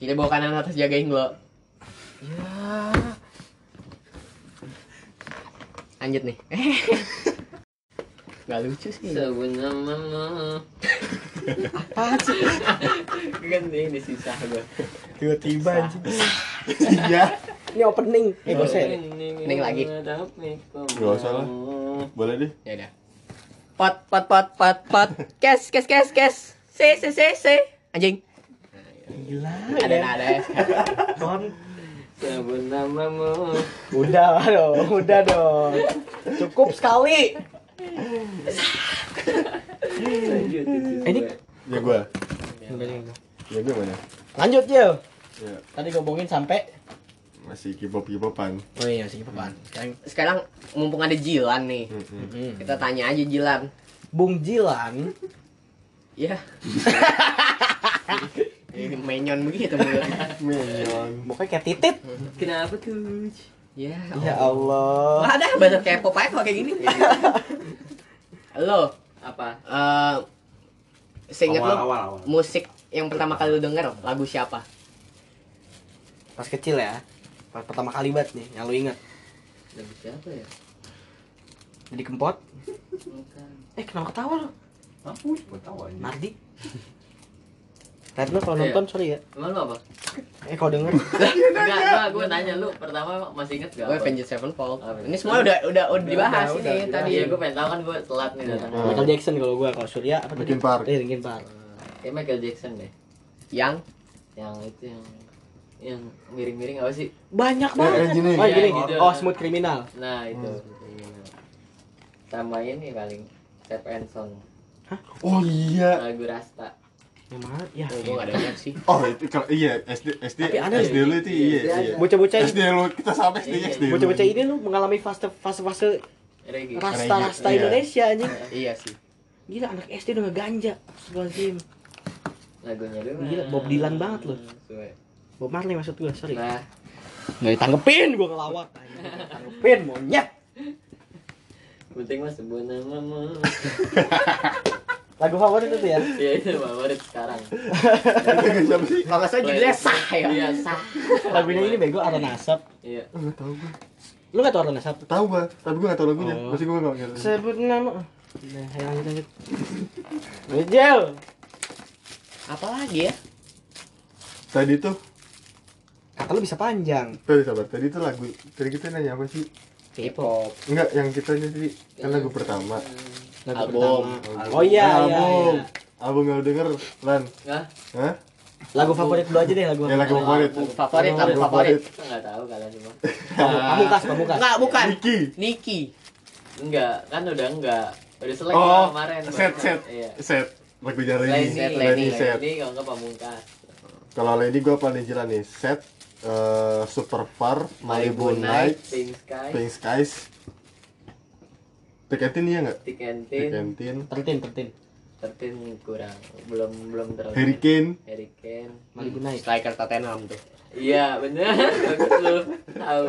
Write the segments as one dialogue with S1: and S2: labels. S1: Kiri bawa kanan atas jagain lo.
S2: Ya.
S1: Lanjut nih. Gak lucu sih.
S2: Sebenarnya mama.
S1: Apaan sih?
S2: Ganti ini sisa gua.
S3: Tiba-tiba anjing. Iya.
S1: Ini opening. Eh, bosen.
S2: Neng
S1: Neng lagi.
S3: Nggak usah lah. Boleh deh.
S1: Ya udah. Pot pot pot pot pot. Kes kes kes kes. Se se se se. Anjing.
S3: Gila.
S1: Ada ada.
S2: Sebut namamu.
S3: Udah dong, udah dong.
S1: Cukup sekali.
S2: Lanjut itu.
S3: Ini- Ya gua. Ya gua mana?
S1: Lanjut, Yo.
S3: Ya,
S1: Tadi ngomongin sampai
S3: masih kipop-kipopan.
S1: Oh iya, sih apaan? Sekarang sekarang mumpung ada Jilan nih.
S3: Mm-mm.
S1: Kita tanya aja Jilan.
S4: Bung Jilan
S1: Ya. Ini menyon begitu Bro.
S3: Menyon.
S4: mukanya kayak titit
S2: Kenapa tuh?
S1: Ya.
S4: ya Allah
S1: Ada banyak kayak Popeye kalau kayak gini. Lo,
S2: Apa?
S1: eh seingat
S5: awal,
S1: lo
S5: awal, awal.
S1: musik yang pertama kali lo denger lagu siapa?
S4: pas kecil ya pas pertama kali banget nih yang lu inget
S2: Lagu siapa ya?
S4: jadi kempot
S2: Bukan.
S4: eh kenapa ketawa lu
S5: Mampus, gua tahu aja.
S4: Mardi Retno kalau
S2: Iya.
S4: nonton sorry ya
S2: Emang lu apa?
S4: eh kalau denger
S2: Enggak, gua gua nanya lu pertama emang masih inget gak?
S1: Gue
S2: apa?
S1: Avenged Sevenfold.
S2: Apa?
S1: Ini semua udah udah Oh, iya. udah dibahas
S4: udah,
S1: ini
S4: udah.
S1: tadi.
S2: Iya, gua pengen tahu kan gua telat nih datang. Eh,
S3: Hmm.
S4: Michael Jackson kalau gua kalau Surya apa
S3: Linkin Park.
S4: eh Linkin Park
S2: Kayak Michael Jackson deh.
S1: Yang
S2: Yang itu yang yang miring-miring apa sih?
S4: banyak
S3: Eh, eh, gini.
S4: oh gini
S2: Iya, gitu.
S4: oh smooth kriminal
S2: Nah, itu.
S3: Hmm.
S2: Sama ini paling Step and Song.
S3: Oh iya.
S2: Lagu Rasta.
S4: yang mana ya
S1: gue
S2: Iya.
S1: gak denger sih.
S3: Oh itu kalau iya SD SD
S4: Tapi ada ya?
S3: SD lu itu iya iya.
S4: bocah-bocah
S3: SD lu kita sampai SD
S2: Iya.
S3: SD. lu.
S4: bocah-bocah ini lu mengalami fase fase fase
S2: Reggae.
S4: rasta rasta
S3: Iya.
S4: Indonesia anjing
S1: Iya sih.
S4: gila anak SD udah ngeganja Astagfirullahaladzim
S2: Lagunya lu.
S4: Gila, Bob Dylan banget lu. Bob Marley maksud gua sorry
S2: Nah,
S4: nggak ditanggepin gua ngelawak anjing. Nggak ditanggepin monyet
S2: penting mas sebut nama mau.
S4: lagu favorit itu ya
S2: Ya itu favorit sekarang.
S3: Lagu siapa sih?
S1: Kalau nggak salah judulnya sah ya.
S2: Iya, sah.
S4: lagunya ini bego Aron Asap
S2: Iya.
S3: Oh, nggak tahu gua.
S4: lu gak tau Aron Asap
S3: Tahu gua, tapi gua nggak tahu lagunya.
S4: Oh.
S3: Masih gua nggak ngerti.
S4: sebut nama nah ayo lanjut lanjut Rejel
S1: Apalagi ya?
S3: Tadi tuh,
S4: kata lu bisa panjang
S3: tadi sabar. Tadi tuh lagu. Tadi kita nanya apa sih?
S1: K-pop.
S3: Enggak, yang kita aja tadi kan lagu pertama.
S4: lagu
S1: Album.
S4: pertama Iya. oh iya
S3: Ah,
S4: iya
S3: album.
S4: iya.
S3: Album yang lu denger, Lan.
S2: Hah?
S3: Hah?
S4: lagu favorit lu aja deh lagu
S3: Ya lagu favorit.
S1: Album favorit,
S3: Oh,
S1: lagu favorit.
S2: Kita nggak tahu kalian semua.
S3: Ah.
S4: pamungkas pamungkas
S3: Nah.
S1: Enggak, bukan.
S3: Niki.
S1: Niki.
S2: Enggak, kan udah enggak. Udah selek
S3: Oh,
S2: kemarin.
S3: set set
S2: Iya.
S3: set. Lagu jari
S2: Lain
S3: ini.
S2: set,
S1: lain
S3: Lain
S1: ini,
S3: set.
S2: Ini kalau nggak pamungkas.
S3: Kalau Lady gue paling jalan nih set eh, Super Far, Malibu Night,
S2: Pink Sky,
S3: Pink Skies, Tiketin iya nggak?
S2: Tikentin,
S3: Tiketin,
S4: tertin tertin
S2: Tertin kurang, belum belum terlalu.
S3: Hurricane,
S2: Hurricane.
S4: Malibu Night
S1: Striker Tottenham tuh.
S2: Iya bener, bagus lu tahu.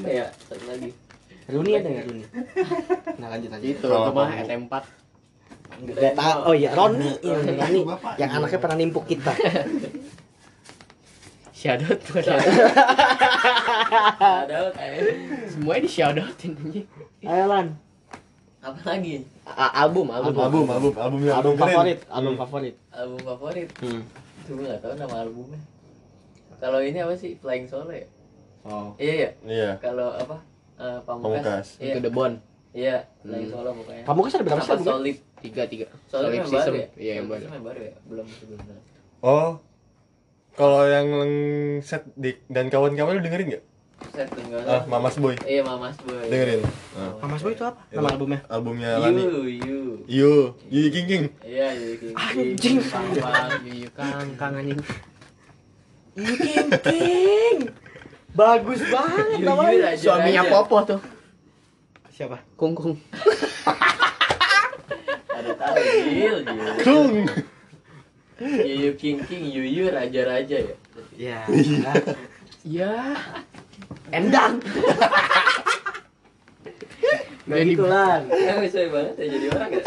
S2: Apa ya satu lagi.
S4: Rooney ada nggak Rooney nah lanjut lanjut
S1: Itu,
S3: Kalau
S1: itu mah
S3: kamu-
S1: SM4.
S4: Gak tau, oh iya, Roni, iya,
S3: Roni,
S4: Roni,
S3: bapak.
S4: yang anaknya pernah nimpuk kita.
S1: Shadow tuh.
S2: Ada kayak
S1: Semuanya di shadowin anjing.
S4: Ayo Lan,
S2: apa lagi?
S1: A- Album, album.
S3: album, album, album yang
S4: album
S3: keren.
S4: favorit, album favorit.
S2: Album favorit?
S3: Hmm.
S2: Cuma nggak tahu nama albumnya. Kalau ini apa sih Flying Solo ya?
S4: Oh.
S2: Iya ya.
S3: Iya.
S2: Kalau apa? Eh,
S3: Pamungkas.
S2: Pamungkas. Iya,
S1: Itu The Bond.
S2: iya. Flying
S1: Hmm.
S2: Solo mukanya.
S4: Kamu kan ada berapa
S2: Apa
S4: sih? albumnya?
S2: Solid?
S1: Tiga, tiga.
S2: Solid
S1: Solid
S2: yang
S1: System.
S2: baru ya?
S1: Iya, yang
S2: Solid
S1: baru.
S2: System yang baru ya? Belum sebelumnya.
S3: Oh, kalau yang set Dik dan kawan-kawan lu dengerin nggak?
S2: Set tunggal.
S3: Ah, Mamas Boy,
S2: Iya Mamas Boy.
S3: dengerin. Ah,
S4: Mas Boy itu apa?
S3: itu
S4: Nama albumnya?
S3: Albumnya Lani.
S2: You, you.
S3: Yo, Yuyi King King.
S2: Iya, you king.
S4: Anjing.
S1: Iya, kang, kang anjing.
S4: Yuking King. Bagus banget
S2: Yuyun
S4: namanya.
S2: aja.
S1: Suaminya
S2: aja.
S1: Popo tuh.
S4: Siapa?
S1: Kungkung.
S2: Ada tahu Gil, Gil.
S3: Kung.
S2: Yuyu King King, Yuyu Raja Raja ya.
S4: Ya.
S2: Iya.
S1: Ya. Endang.
S4: Gak gitu Lan. Gitu,
S2: Eh, Yang sesuai banget ya jadi orang ya.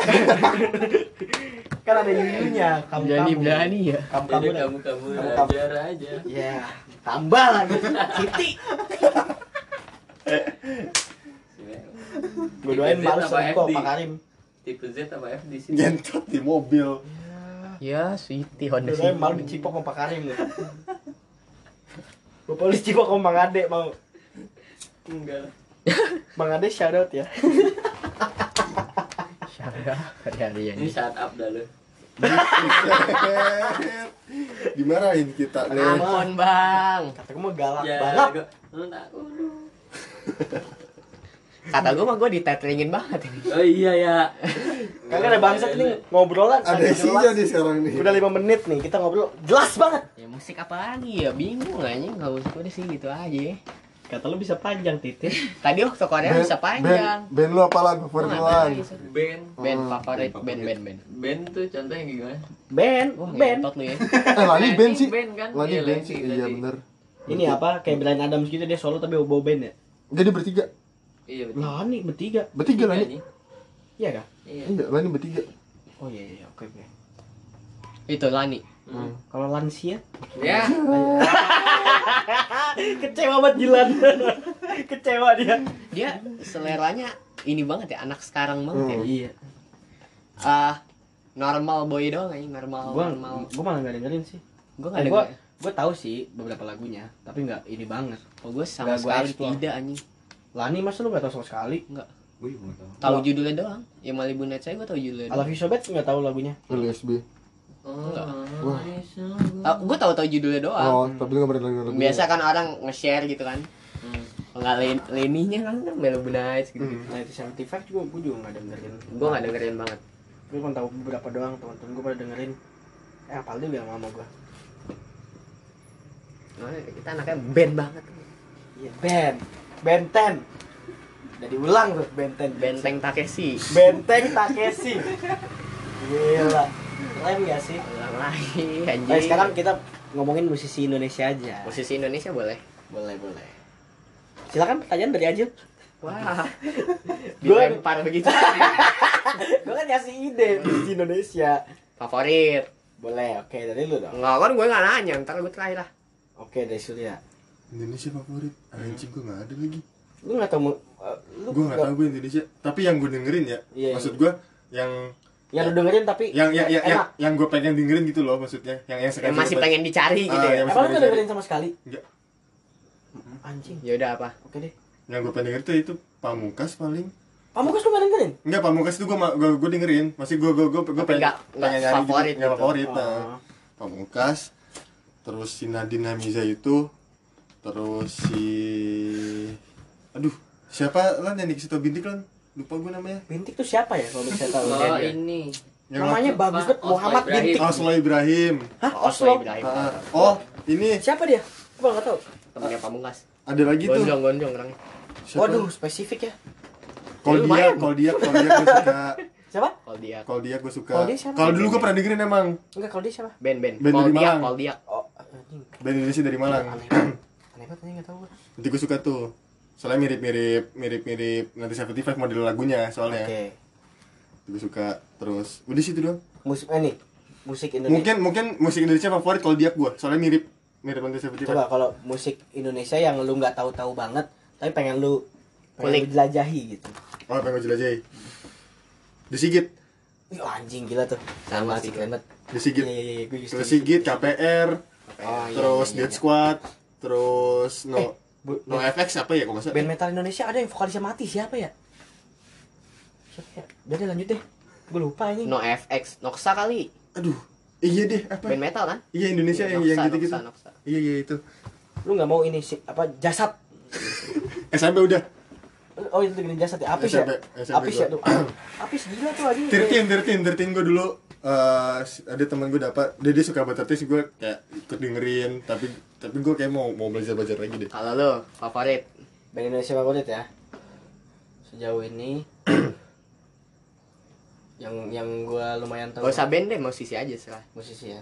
S4: kan ada yuyunya kamu
S2: Jadi
S4: kamu
S2: berani ya.
S4: kamu kamu
S2: Jadi kamu kamu
S4: kamu.
S2: ajar aja.
S4: ya tambah lagi Siti gue doain
S2: Tipe Z
S4: males
S2: apa
S4: sama kok
S2: FD?
S4: Pak Karim
S2: Tipe Z apa F di sini?
S3: Gentot di mobil.
S2: Ya, Sweety Honda
S4: gue doain malu dicipok sama Pak Karim gue gue polis dicipok sama Mang Ade mau
S2: Enggak. lah.
S4: Mang Ade shout out ya
S1: Syangga hari-hari
S2: Ini shut up dah lu.
S3: Dimarahin kita nih.
S1: Ampun bang.
S4: kata gue mah galak
S2: Ya,
S4: banget
S2: gua- lu tak- aduh.
S1: Kata gue mah gue ditetringin banget ini.
S2: Oh iya ya.
S4: kagak ada bangsat ini ngobrolan
S3: Ada
S4: kagak
S3: isinya
S4: jelas.
S3: nih sekarang nih.
S4: udah lima menit nih kita ngobrol jelas banget
S1: Ya musik apa lagi ya bingung anjing nggak usah udah sih gitu aja.
S2: Kata lu bisa panjang titik.
S1: Tadi waktu Korea
S3: Ben-
S1: bisa panjang.
S3: Ben, ben lu apa lagu
S1: Gua nggak
S3: perjuangan?
S1: tahu lagi, Sir.
S2: Band.
S1: Band
S3: Hmm,
S1: favorit,
S6: band
S1: band
S6: favorit.
S1: band band.
S2: Band tuh contohnya gimana?
S4: Ben
S1: Wah,
S4: Ben
S1: ngentot lu ya.
S3: Eh, Lani
S2: Lani
S3: Ben sih.
S2: Ben kan?
S3: Lani
S2: Iya,
S3: Ben
S2: Lani,
S3: sih,
S2: Lani.
S3: iya bener.
S4: ini apa kayak Brian Adams gitu dia solo tapi bawa band ya
S3: Jadi bertiga.
S2: Iya betul.
S4: nah ini bertiga
S3: Bertiga Lani.
S2: Nyanyi.
S4: iya kah
S2: Iya.
S3: Iya, Lani bertiga.
S4: oh iya iya oke oke
S1: Itu Lani.
S2: Hmm.
S4: kalau Lansia
S2: Ya.
S4: kecewa banget Jilan kecewa dia
S1: Dia seleranya ini banget ya anak sekarang banget ya.
S3: Hmm.
S4: iya
S1: Ah normal boy doang anjing normal
S4: gua
S1: normal.
S4: gua malah nggak dengerin sih
S1: Gue
S4: Eh,
S1: nggak ya.
S4: gua
S1: ada.
S4: gua tahu sih beberapa lagunya tapi nggak ini banget
S1: Oh gue sama
S4: Nggak gua
S1: sekali
S4: explore.
S1: tidak anjing.
S4: Lani masa lu nggak tahu sama sekali
S6: Gue juga nggak tahu.
S1: Tahu
S4: Wah.
S1: judulnya doang. Ya Malibu Nights saya gue tahu judulnya.
S4: I Love
S1: Doang.
S4: You So Bad nggak tahu lagunya
S3: LSB.
S2: Oh,
S3: Wah.
S1: Ah, gue tahu tahu judulnya doang.
S3: Oh, tapi lu nggak pernah denger lagunya.
S1: biasa kan orang nge-share gitu kan
S2: Hmm.
S1: nggak len leninya kan kan Melo Nights gitu
S3: Hmm.
S4: Nah itu 75 juga gua juga nggak dengerin
S1: gue nggak dengerin banget
S4: gue cuma tahu beberapa doang teman-teman gue pada dengerin eh apal dia bilang mama gue
S1: Soalnya kita anaknya band banget
S4: iya Ben Benten udah diulang tuh Benten
S1: benteng Takeshi
S4: Benteng Takeshi gila keren gak sih
S1: ulang lagi anjing
S4: Nah, sekarang kita ngomongin musisi Indonesia aja
S1: musisi Indonesia boleh
S4: boleh boleh silakan pertanyaan dari Ajil
S1: wah
S4: Gua-
S1: dilempar begitu
S4: gue kan ngasih ide musisi Indonesia
S1: favorit
S4: boleh oke dari lu dong
S1: nggak kan gue nggak nanya ntar gue terakhir lah
S4: oke dari Surya
S3: Indonesia favorit. Anjing gua nggak ada lagi.
S4: lu nggak tahu mu- eh, lu
S3: Gua nggak tahu gue Indonesia. Tapi yang gue dengerin ya.
S4: Iya,
S3: Maksud gua yang
S4: yang lu dengerin tapi
S3: yang yang yang, yang,
S4: enak
S3: yang gue pengen dengerin gitu loh maksudnya yang yang sekarang
S1: yang masih pengen dicari gitu
S3: Ah,
S1: ya
S3: yang-
S4: emang lu nggak dengerin sama sekali
S3: Nggak.
S4: anjing
S1: ya udah apa
S4: oke deh
S3: yang gue pengen dengerin tuh itu pamungkas paling
S4: Pamungkas lu gak dengerin?
S3: Enggak, pamungkas itu gue gue gue dengerin masih gue gue gue gue
S1: Tapi
S3: pengen
S1: nggak- nggak
S3: pengen nyari
S1: favorit
S3: gitu. nggak
S1: gitu.
S3: favorit nah.
S4: Oh.
S3: pamungkas terus si Nadine Hamiza itu terus si aduh siapa lan yang dikasih tau bintik lan lupa gue namanya
S4: Bintik tuh siapa ya kalau bisa tahu?
S2: Oh ini.
S3: yang
S4: Namanya
S3: laki-
S4: bagus banget
S2: Oslo
S4: Muhammad
S2: Ibrahim.
S3: Oh,
S4: Bintik.
S3: Oslo Ibrahim
S4: Hah,
S1: Oslo
S4: Oslo.
S1: Ibrahim
S3: Ah, oh ini
S4: Siapa dia? Gua enggak tahu.
S1: temennya Pamungkas
S3: ada lagi tuh
S1: gondrong gondrong orang
S3: Siapa?
S4: Waduh, spesifik ya.
S3: kalau dia
S1: Lumayan.
S3: kalau dia kalau dia gue suka
S4: Siapa?
S1: kalau dia
S3: kalau dia gue suka
S4: Kalau dia siapa?
S3: kalau dulu gue pernah dengerin emang
S4: Enggak, kalau dia siapa?
S1: band band
S3: Band
S1: kalau
S3: dari
S1: dia
S3: Malang.
S1: kalau dia
S4: Oh, anjing.
S3: band Indonesia dari Malang
S4: Aneh banget. Aneh banget anjing enggak tahu gua.
S3: nanti gue suka tuh soalnya mirip mirip mirip mirip nanti 75 model lagunya soalnya
S4: Oke.
S3: Nanti gue suka terus udah situ doang
S4: Musik eh, nih. Musik Indonesia.
S3: mungkin mungkin musik Indonesia favorit kalau dia gue soalnya mirip mirip nanti 75
S4: Coba kalau musik Indonesia yang lu nggak tahu-tahu banget, tapi pengen lu
S1: Kulik.
S4: pengen lu jelajahi gitu.
S3: oh pengen gue jelajahi disigit
S4: Ih, anjing gila tuh.
S1: Sama
S4: Sama
S1: sih,
S4: sih keren banget. Iya
S3: disigit
S4: iya iya, gua juga
S3: terus
S4: setuju.
S3: sigit KPR
S4: Oh, iya,
S3: terus
S4: iya, Eh,
S3: Dead
S4: iya.
S3: Squad terus no
S4: Bu-
S3: no FX apa ya kalau nggak salah
S4: Band metal Indonesia ada yang vokalisnya mati siapa ya? Siapa ya? Udah deh lanjut deh. Gue lupa ini.
S1: no FX Noxa kali
S3: aduh iya deh apa
S1: band metal kan
S3: iya Indonesia yang yang gitu gitu
S1: Noxa.
S3: iya iya itu
S4: Lu nggak mau ini si, apa jasad?
S3: SMP udah
S4: Oh itu dengan jasad ya? Apis ya?
S3: SMP, SMP
S4: Apis ya tuh.
S3: gua.
S4: Apis gila tuh anjing.
S3: Tirtin, Tirtin, Tirtin gue dulu eh ada teman gue dapat, dia, dia suka banget Tirtin, gue kayak ikut dengerin, tapi tapi gue kayak mau mau belajar belajar lagi deh.
S1: kalau
S4: Ah,
S1: lo favorit
S4: Band Indonesia favorit ya? Sejauh ini yang yang gue lumayan tahu
S1: gak usah band deh musisi aja serah
S4: musisi ya.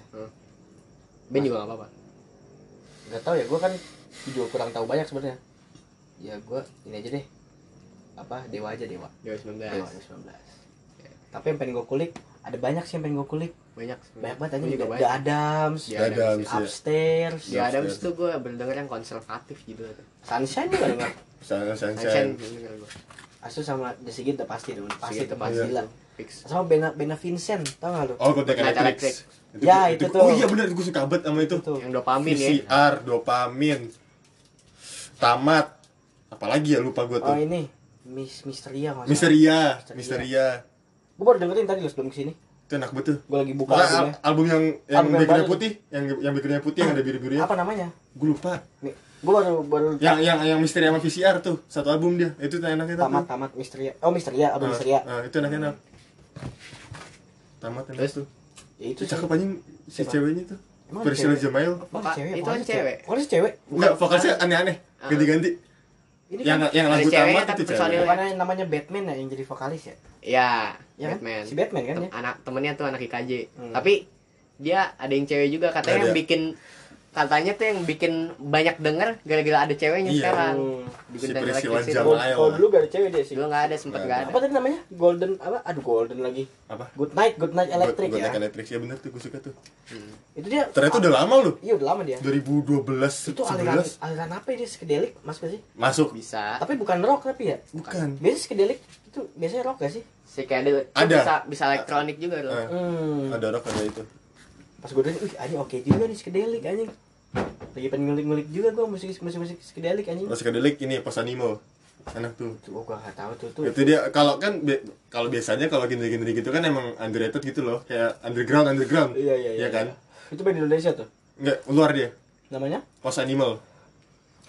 S1: band juga gak apa-apa
S4: Gak tahu ya gue kan video kurang tahu banyak sebenarnya. Ya gue ini aja deh. Apa Dewa aja Dewa.
S1: 2019
S4: Dewa 19. Tapi yang pengen gue kulik ada banyak sih yang pengen gue kulik
S1: banyak
S4: banyak banget aja
S1: Hmm. Gua
S4: juga
S1: juga
S4: The
S1: banyak Iya.
S4: Adams
S1: Di
S3: The
S4: iya,
S3: Adams, ya.
S4: Upstairs
S1: di Adams tuh gue berdengar yang konservatif gitu
S4: Sunshine juga denger
S3: Sangat
S1: Sunshine
S3: sunshine.
S1: denger gua.
S4: Asu sama The Sigit udah pasti dong
S1: pasti
S4: pasti
S1: itu
S4: tuh
S1: pasti
S4: pasti lah
S1: tuh, fix
S4: sama Bena Bena Vincent tau gak lu
S3: Oh, kontak
S1: Kontak
S3: elektrik.
S1: elektrik.
S4: Ya, itu tuh.
S3: Oh iya benar, gue suka banget sama itu.
S4: tuh
S1: yang dopamin ya
S3: VCR, dopamin, tamat, apalagi ya lupa gue
S4: oh
S3: tuh.
S4: ini Miss Misteria nggak salah.
S3: Misteria,
S4: Misteria.
S3: Misteria,
S4: gue baru dengerin tadi lu sebelum kesini
S3: itu enak banget tuh.
S4: gue lagi buka
S3: Pokoknya
S4: albumnya
S3: al- album yang yang
S4: Album yang
S3: backgroundnya
S4: baru.
S3: putih, yang yang backgroundnya putih yang ada biru-birunya.
S4: apa namanya
S3: Gue lupa.
S4: gue baru baru
S3: Yang yang yang misteri sama VCR tuh, satu album dia. Itu enaknya tuh.
S4: tamat tamat Misteria oh Misteria
S3: iya, Ah,
S4: album Misteria
S3: ah, itu enak-enak. Tamat enak tuh.
S4: ya itu
S3: Itu
S4: sih.
S3: cakep anjing si
S4: Siapa?
S3: ceweknya tuh.
S4: Emang ada
S3: Priscilla
S4: cewek?
S3: Jamail.
S4: Oh,
S1: Pak,
S4: cewek,
S1: itu
S4: vokalis
S1: kan cewek.
S4: Vokalis cewek.
S3: Enggak, vokalisnya aneh-aneh.
S1: Ah.
S3: Ganti-ganti.
S4: Ini
S3: Yang
S4: kan
S3: yang
S1: Ada
S3: lagu
S1: ceweknya,
S3: tamat
S1: tapi
S3: itu
S1: personil.
S3: cewek.
S4: bukan yang namanya Batman ya yang jadi vokalis ya?
S1: ya
S4: Ya kan?
S1: Batman
S4: Si Batman kan ya?
S1: Tem- anak temennya tuh anak IKJ
S4: Hmm.
S1: tapi dia ada yang cewek juga katanya
S3: Ada.
S1: yang bikin katanya tuh yang bikin banyak denger gara-gara ada ceweknya
S3: Iya.
S1: sekarang
S4: Hmm.
S1: bikin
S3: Si
S1: dan
S3: Priscilla
S1: elektrik
S3: Jamal.
S1: itu
S3: Jamail.
S4: Kalau dulu gak ada cewek dia sih.
S1: dulu nggak ada sempet
S3: Nggak
S1: nggak ada
S4: Apa tadi namanya? Golden apa? Aduh Golden lagi.
S3: Apa?
S4: Good Night, Good Night Electric
S3: Gua- gua
S4: ya.
S3: naik elektrik ya bener tuh gue suka tuh.
S4: Itu dia.
S3: Ternyata udah lama loh.
S4: Iya udah lama dia.
S3: 2012
S4: Itu aliran
S3: 11
S4: aliran apa ya dia skedelik mas gak sih?
S3: masuk.
S1: bisa
S4: Tapi bukan rock tapi ya.
S3: Bukan.
S4: Biasanya skedelik itu biasanya rock gak sih?
S1: si kayak
S3: Ada.
S1: bisa bisa elektronik juga loh
S3: Eh,
S4: Hmm.
S3: Ada rock ada itu.
S4: Pas gue dengerin, wih anjing oke juga nih skedelik anjing. Lagi pengen ngulik-ngulik juga gue musik musik musik skedelik anjing.
S3: Terus kedelik ini pos animo. Enak tuh.
S4: Tuh gue gak tahu tuh tuh.
S3: Itu dia kalau kan bi- kalau biasanya kalau genre-genre gitu kan emang underrated gitu loh, kayak underground underground.
S4: Iya iya iya.
S3: Iya kan?
S4: Itu band Indonesia tuh.
S3: Enggak, luar dia.
S4: Namanya?
S3: Pos animal.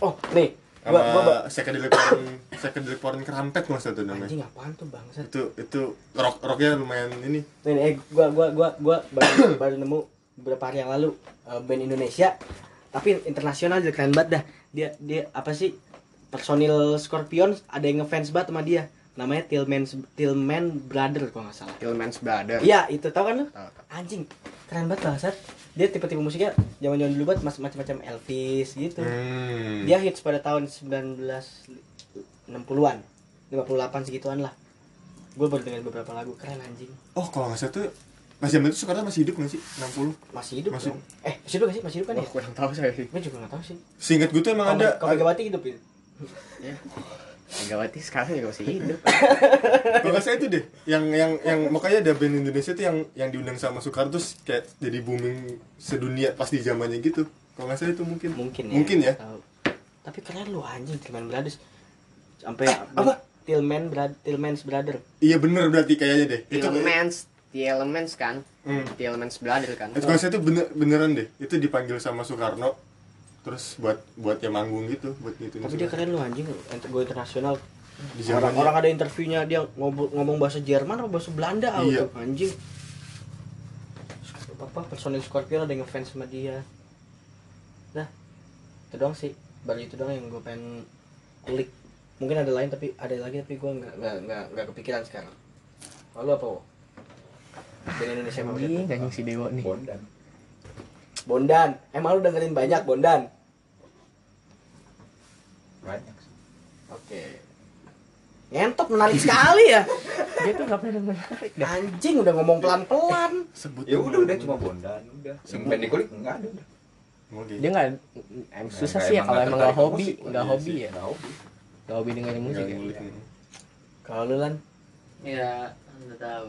S4: Oh, nih. Gua gua, gua
S3: Sama psychedelic porn, psychedelic porn kerampet masa tuh namanya.
S4: anjing apaan tuh bangsat.
S3: Itu itu rock rocknya lumayan ini.
S4: Nih, nih eh, gua gua gua gua baru, baru nemu beberapa hari yang lalu eh, band Indonesia tapi internasional juga keren banget dah. Dia dia apa sih? Personil Scorpion ada yang ngefans banget sama dia. Namanya Tillman Tillman Brother kalau nggak salah.
S1: Hillman's Brother
S4: Iya, itu tau kan lu?
S1: Tahu, tahu.
S4: Anjing, keren banget bangsat. Dia tipe-tipe musiknya zaman-zaman dulu banget mas- macam-macam Elvis gitu.
S3: Hmm.
S4: Dia hits pada tahun 1960-an 58 segituan lah Gue baru dengerin beberapa lagu, keren anjing
S3: Oh, kalau nggak salah tuh Mas Jamal itu sekarang masih hidup nggak sih? 60
S4: Masih hidup
S3: Masih-
S4: dong Eh, masih hidup gak sih? Masih hidup kan
S1: Wah,
S4: ya?
S1: Oh, kurang tahu saya sih
S4: Gue juga gak tau sih
S3: Seingat gue tuh emang
S4: Kalau
S3: ada
S4: kalau Megawati hidup ya?
S1: Megawati sekarang juga masih hidup
S3: Kalau nggak salah itu deh Yang yang yang makanya ada band Indonesia tuh yang yang diundang sama Soekarno terus kayak jadi booming sedunia pas di zamannya gitu Kalau nggak salah itu mungkin
S4: Mungkin ya
S3: Mungkin ya
S4: nggak tahu. Tapi keren lu anjing, Tillman Brothers Sampai
S3: Eh, apa?
S4: Tillman Brad, Tillman's Brother
S3: Iya bener berarti kayaknya deh
S1: Iya,
S3: Itu
S1: Hillman's The Elements kan
S3: Hmm.
S1: The Elements Brother kan
S3: Itu kalau saya tuh bener, beneran deh Itu dipanggil sama Soekarno Terus buat buat ya manggung gitu Buat gitu
S4: Tapi dia keren lu anjing, ent- gue internasional
S3: Di
S4: orang,
S3: zamannya
S4: orang ada interviewnya dia ngomong, ngomong bahasa Jerman atau bahasa Belanda ah,
S3: Iya.
S4: tuh, anjing apa personil Scorpion ada yang ngefans sama dia nah itu doang sih baru itu doang yang gue pengen klik mungkin ada lain tapi ada lagi tapi gue nggak nggak nggak nggak kepikiran sekarang lalu apa Wo? Band Indonesia favorit lu?
S1: Anjing, anjing si Dewa nih
S7: Bondan.
S4: Bondan emang lu dengerin banyak Bondan
S7: Banyak sih.
S4: oke ngentot menarik sekali ya
S1: Dia tuh gak pernah menarik dah
S4: anjing udah ngomong pelan pelan
S3: Sebut
S7: Ya
S3: dong.
S7: udah udah cuma Bondan udah. Yang pengen dikulik enggak ada udah.
S3: Oke.
S2: Dia nggak, em, susah
S7: Nggak,
S2: sih ya kalau
S7: emang nggak
S2: emang nggak
S7: tertarik
S2: hobi,
S7: musik,
S2: nggak
S3: iya
S2: hobi
S3: sih.
S2: ya,
S7: Nggak hobi.
S2: nggak hobi dengerin musik
S3: Nggak gitu.
S2: ya.
S3: ngulik nih.
S4: kalau lu lan
S2: Iya.
S1: Nggak tahu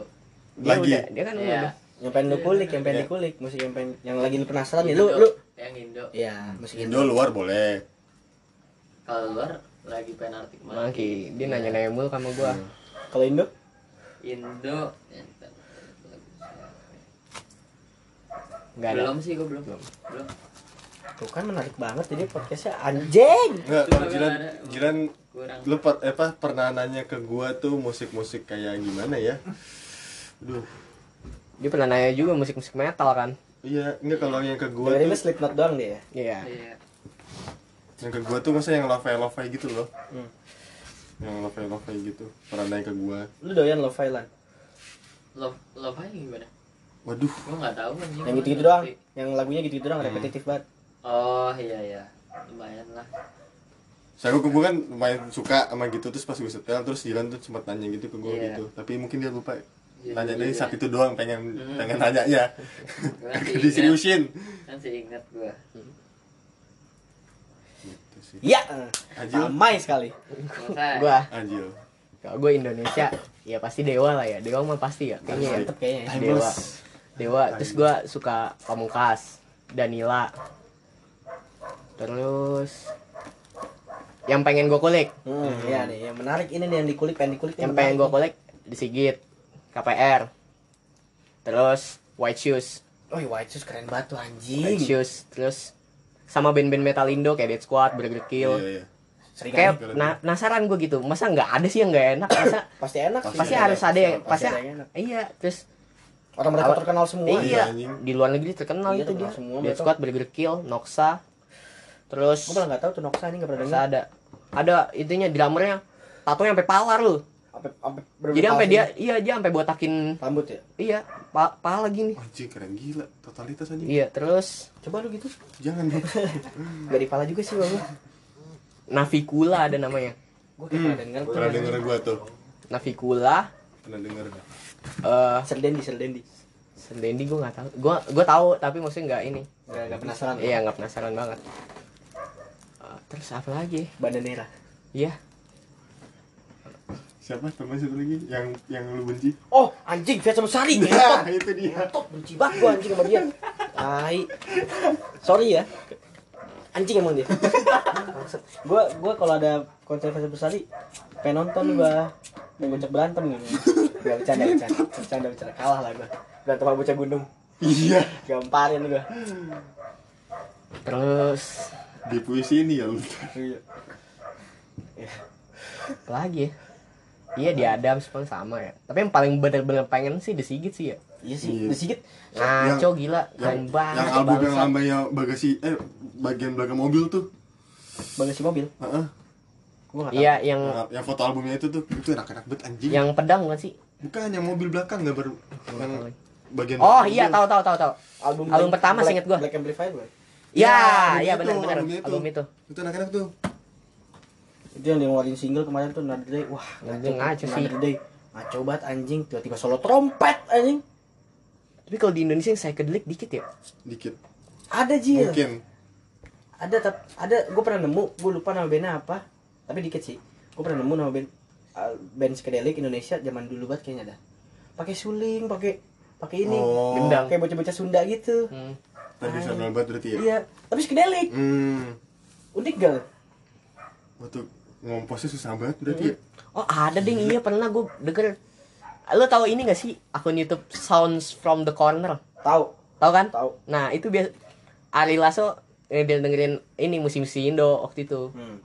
S2: Dia
S3: Lagi.
S2: udah, dia kan
S1: Iya.
S2: udah.
S4: yang pengen lu kulik, yang pengen
S3: Iya.
S4: dikulik, musik yang pengen yang lagi lu penasaran nih, lu lu
S2: Yang Indo.
S4: ya musik
S3: Indo luar boleh
S2: Kalau luar lagi pengen Arctic Monkey. Dia nanya-nanya mulu sama gua.
S3: Hmm.
S4: Kalau Indo?
S2: Indo. Enggak ada. Belum sih gua belum. Belum.
S4: Tuh kan menarik banget jadi podcastnya anjing.
S3: Enggak,
S2: Itu
S3: kalau
S2: nggak
S3: Jiran,
S2: ada.
S3: Jiran
S2: Kurang.
S3: lu per, apa, pernah nanya ke gua tuh musik-musik kayak gimana ya? Duh,
S2: Dia pernah nanya juga musik-musik metal kan?
S3: iya, enggak kalau yang ke gua
S4: Dengerin
S3: tuh,
S4: Slipknot doang dia. ya?
S2: Iya.
S3: yang ke gua tuh masa yang lo-fi-lo-fi gitu loh.
S4: Hmm.
S3: Yang lo-fi-lo-fi gitu, pernah nanya ke gua.
S4: Lu doyan lo lan.
S2: Love Love aja gimana?
S3: Waduh,
S2: Gua enggak tahu kan.
S4: Yang gitu-gitu doang, yang lagunya gitu-gitu doang repetitif banget.
S2: Oh, iya iya. Lumayan lah.
S3: saya gua, gua kan lumayan suka sama gitu terus pas gua setel terus Jiran tuh sempat nanya gitu ke gua
S2: Iya.
S3: gitu. Tapi mungkin dia lupa. nanya dari saat itu doang pengen
S2: Hmm.
S3: pengen nanya ya
S2: Masih ingat,
S3: diseriusin
S2: masih Kan ingat gua.
S3: gitu sih
S4: Iya.
S3: Ajil
S4: Ramai sekali.
S2: Selesai.
S1: Gua
S3: Ajil
S1: kalau gue Indonesia ya pasti dewa lah ya dewa mah pasti ya kayaknya ya.
S4: Mantep kayaknya.
S3: timeless
S1: dewa terus gua suka pamungkas Danila terus yang pengen gue kulik
S4: Hmm, iya nih, yang menarik ini nih yang dikulik pengen dikulik. nih,
S1: yang pengen gue kulik
S4: menarik.
S1: di Sigit KPR terus White Shoes
S4: Oi, White Shoes keren banget tuh
S1: White
S4: anjing.
S1: Shoes terus sama band-band metal Indo kayak Dead Squad, Burger
S3: iya
S1: Kill
S3: iya
S4: Sering
S1: kayak
S3: kali.
S1: na- penasaran gue gitu masa nggak ada sih yang nggak enak masa
S4: pasti enak sih.
S1: pasti harus ada yang
S4: Pasti
S1: pasti
S4: ada yang enak.
S1: iya terus
S4: Orang mereka
S1: Awal-
S4: terkenal semua.
S3: Iya,
S1: iya
S3: anjing.
S1: di luar negeri terkenal
S4: Iya,
S1: itu dia
S4: terkenal semua
S1: Dead
S4: mereka.
S1: Squad, Burger Kill, Noxa terus
S4: Gue malah nggak tahu tuh Noxa ini nggak pernah
S1: Noxa
S4: dengar.
S1: ada ada itunya drummernya tato sampai palar loh
S4: Sampai sampai
S1: jadi sampai dia iya dia sampai botakin
S4: rambut ya.
S1: iya pa pala gini
S3: anjing keren gila totalitas anjing
S1: iya terus
S4: Coba lu gitu.
S3: jangan dong
S4: Gak dipala juga sih gua.
S1: Navicula ada namanya
S4: Gue kayak
S1: Hmm.
S4: pernah dengar tuh.
S3: pernah denger gua tuh
S1: Navicula
S3: pernah denger
S1: eh
S4: Serdendi, serdendi.
S1: Sendendi gue nggak tahu gue gue tahu tapi maksudnya nggak ini
S4: Gak, gak penasaran.
S1: iya nggak penasaran banget Eh, terus apa lagi
S4: Bandanera.
S1: iya
S3: siapa teman satu lagi yang yang lu benci
S4: Oh, anjing, Fia sama Sari.
S3: nah itu dia
S4: Top benci banget gua anjing sama dia. Tai. Sorry ya. Anjing emang dia. Maksud, gua gua kalau ada konser Fia sama Sari pengen nonton gua. Pengen bocah berantem gitu. Gak bercanda, bercanda. Bercanda, bercanda. Kalah lah gua. Berantem sama bocah gunung.
S3: iya
S4: Gamparin gua.
S1: terus
S3: di puisi ini ya lu
S4: Iya.
S1: apa lagi ya? iya di Adam pun sama ya tapi yang paling bener-bener pengen sih di Sigit sih ya
S4: Iya sih,
S3: Iya.
S4: sedikit.
S1: ngaco gila keren
S3: yang,
S1: banget
S3: yang album yang
S1: bangsat.
S3: lambangnya bagasi eh bagian belakang mobil tuh
S4: Bagasi mobil.
S3: Heeh.
S4: Gua enggak tahu.
S1: iya yang
S3: Yang- yang foto albumnya itu tuh itu enak-enak banget anjing
S1: yang pedang kan sih
S3: bukan yang mobil belakang nggak ber yang bagian
S1: oh
S3: belakang
S1: iya
S3: mobil.
S1: tahu tahu tahu tahu
S4: Album,
S1: Album pertama
S4: Black-
S1: seinget gua.
S4: Black Amplifier bukan?
S1: ya
S3: album
S1: iya
S3: itu,
S1: benar benar
S3: albumnya itu.
S1: album itu
S3: itu enak-enak tuh
S4: itu yang dia ngeluarin single kemarin tuh Another Day wah
S1: Anjing, ngaco sih.
S4: Another Day ngaco banget anjing tiba-tiba solo trompet anjing
S1: tapi kalau di Indonesia yang psychedelic dikit ya
S3: dikit
S4: ada
S1: Iya,
S4: Jil
S3: mungkin
S4: ada tap- ada gue pernah nemu gue lupa nama bandnya apa tapi dikit sih gue pernah nemu nama band uh, band psychedelic Indonesia zaman dulu banget kayaknya dah pakai suling pakai pakai ini
S3: Oh.
S1: Gendang.
S4: kayak bocah-bocah Sunda gitu
S1: hmm.
S3: tadi Samuel banget berarti ya
S4: iya tapi psychedelic
S3: hmm
S4: unik gak
S3: waktu ngomposnya susah banget berarti ya
S1: Oh ada ding iya pernah gue denger Lo tahu ini gak sih akun YouTube Sounds from the Corner?
S4: tahu
S1: Tahu kan?
S4: Tahu.
S1: Nah, itu biasa Ari Lasso eh, dia dengerin ini musim-musim Indo waktu itu.
S4: hmm.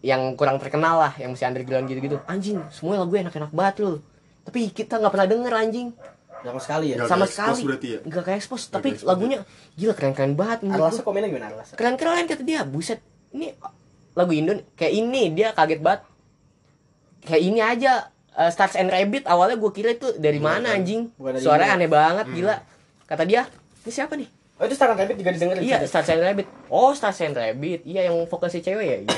S1: Yang kurang terkenal lah, yang masih underground gitu-gitu. Anjing, semua lagu enak-enak banget lu. Tapi kita nggak pernah denger anjing
S4: sama sekali ya
S3: Nggak
S1: sama
S3: ke expose
S1: sekali.
S3: berarti ya?
S1: Nggak kayak expose, tapi
S3: ke expose. ya?
S1: lagunya gila keren-keren banget menurut
S4: Arlasa
S1: gua.
S4: komennya gimana Arlasa
S1: Keren-keren kata dia, buset. Ini lagu Indo nih. kayak ini dia kaget banget. Kayak ini aja eh, Stars and Rabbit awalnya gue kira itu dari
S3: Iya,
S1: mana
S3: kan.
S1: anjing.
S4: Bukan dari
S1: Suaranya
S4: Indo.
S1: aneh banget
S3: Hmm.
S1: gila. Kata dia, ini siapa nih?
S4: oh itu Staran Rabbit juga didengerin
S3: Kan
S1: Iya,
S4: Sudah.
S1: Stars and Rabbit. Oh, Stars and Rabbit. Iya, yang fokusnya cewek ya. Iya.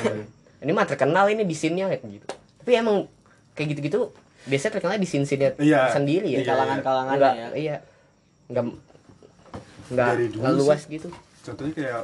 S1: ini mah terkenal ini di scene-nya kayak gitu. Tapi emang kayak gitu-gitu biasanya terkenal di scene-scene
S3: Iya.
S1: sendiri ya.
S4: di kalangan-kalangan
S1: Enggak,
S4: ya
S1: iya. Enggak enggak
S3: Dari dulu
S1: enggak luas gitu.
S3: contohnya kayak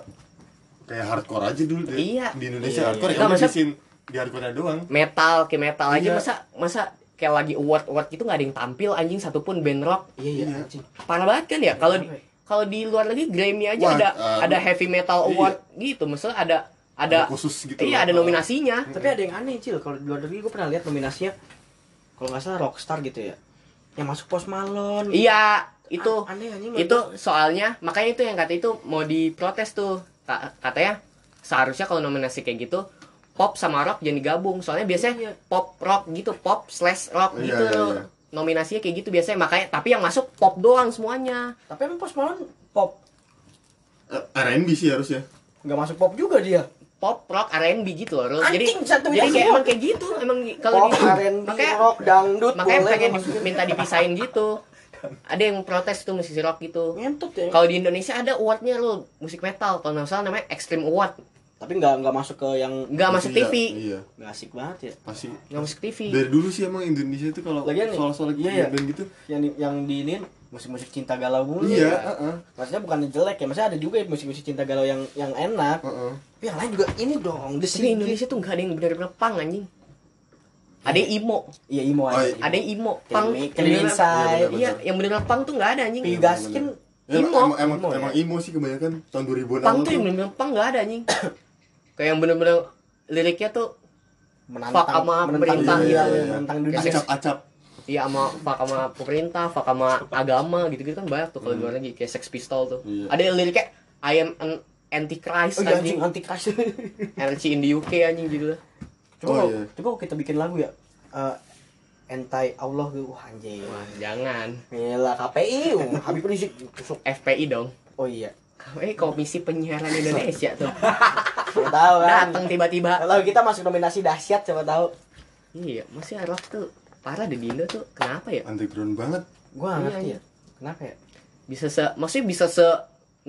S3: kayak hardcore aja dulu deh
S1: Iya.
S3: di Indonesia
S4: Iya,
S3: hardcore
S1: iya.
S3: ya
S1: Nggak,
S3: udah di
S1: maksud-
S3: scene di hardcore doang
S1: Metal kayak metal aja
S3: Iya.
S1: masa masa kayak lagi award award gitu nggak ada yang tampil anjing satupun band rock
S4: iya iya
S3: Iya.
S4: anjing.
S1: parah banget kan ya kalau di kalau di luar negeri Grammy aja
S3: Wah,
S1: ada
S3: eh,
S1: ada heavy metal
S3: iya.
S1: award gitu maksudnya ada ada,
S3: Ada khusus gitu
S1: iya
S3: loh.
S1: ada nominasinya
S4: tapi ada yang aneh cil kalau di luar negeri gue pernah lihat nominasinya kalau nggak salah rockstar gitu ya yang masuk pos malon
S1: iya itu
S4: A- aneh anjing
S1: itu soalnya makanya itu yang kata itu mau diprotes tuh Ka- katanya seharusnya kalau nominasi kayak gitu pop sama rock jangan digabung soalnya biasanya
S4: Iya.
S1: pop rock gitu pop slash rock
S3: Iya,
S1: gitu
S3: iya, iya.
S1: nominasinya kayak gitu biasanya makanya tapi yang masuk pop doang semuanya
S4: tapi emang pos malon pop
S3: Eh, R&B sih harusnya
S4: nggak masuk pop juga dia
S1: pop rock R&B gitu loh Rul. jadi
S4: Anjing, satu
S1: jadi
S4: minus
S1: kayak
S4: dua.
S1: emang kayak gitu emang kalau
S4: pop
S1: di
S4: R&B
S1: makanya
S4: rock dangdut
S1: makanya
S4: boleh
S1: pengen
S4: masuk.
S1: di- minta dipisahin gitu ada yang protes tuh musisi rock gitu
S4: ngentot ya
S1: Kalau di Indonesia ada awardnya lu musik metal, kalau nggak salah namanya Extreme Award.
S4: tapi nggak nggak masuk ke yang
S1: nggak masuk
S3: Iya,
S1: TV
S3: Iya,
S4: nggak asik banget ya
S3: pasti.
S1: nggak masuk TV
S3: Dari dulu sih emang Indonesia itu kalau
S4: Lagian nih,
S3: soal-soal gitu
S4: iya, iya.
S3: band gitu.
S4: yang di, yang diinin musik-musik cinta galau mulu
S3: Iya,
S4: ya.
S3: heeh.
S4: maksudnya bukan jelek ya maksudnya ada juga ya musik-musik cinta galau yang yang enak
S3: Heeh.
S4: tapi yang lain juga ini dong the
S1: Tapi
S4: Sigit.
S1: Indonesia tuh nggak ada yang benar-benar pang anjing ada yang imo
S4: iya
S3: Oh,
S4: imo aja
S3: iya.
S1: ada yang imo
S4: Kayak
S1: pang
S4: Mi-
S1: yang
S4: Clean
S1: beneran-
S4: Inside.
S1: iya yang beneran pang tuh nggak ada anjing
S4: Piyu Gaskin
S3: Ya,
S1: Imo.
S3: emang emang
S4: Imo, ya?
S3: emang imo sih kebanyakan tahun 2000-an
S1: pang
S3: awal Iya,
S1: tuh yang beneran pang nggak ada anjing kayak yang bener-bener liriknya tuh Fuck
S4: menantang
S1: sama
S4: menentang
S1: perintah,
S4: dunia,
S3: iya, iya.
S4: menentang dunia
S3: acap-acap.
S1: iya sama fak sama pemerintah fak sama agama gitu-gitu kan banyak tuh kalau luar negeri kayak Sex Pistol tuh
S3: Iya.
S1: ada yang liriknya I am an antichrist
S4: Oh, iya,
S1: anjing
S4: anjing anti crush
S1: energy in the UK anjing gitu
S3: Oh,
S4: coba kalau-
S3: iya.
S4: coba kalau kita bikin lagu ya eh, anti Allah gitu wah anjing
S1: Wah, jangan
S4: Gila KPI, uh, Habib Rizik tusuk.
S1: FPI dong
S4: Oh iya,
S1: eh komisi penyiaran Indonesia tuh
S4: siapa tahu kan.
S1: datang tiba-tiba
S4: Kalau kita masuk nominasi dahsyat siapa tahu.
S1: iya masih Arab tuh parah deh di Indo tuh kenapa ya
S3: Underground banget.
S4: Gua
S1: Iya,
S4: nggak ngerti
S1: iya.
S4: ya. Kenapa ya?
S1: bisa se maksudnya bisa se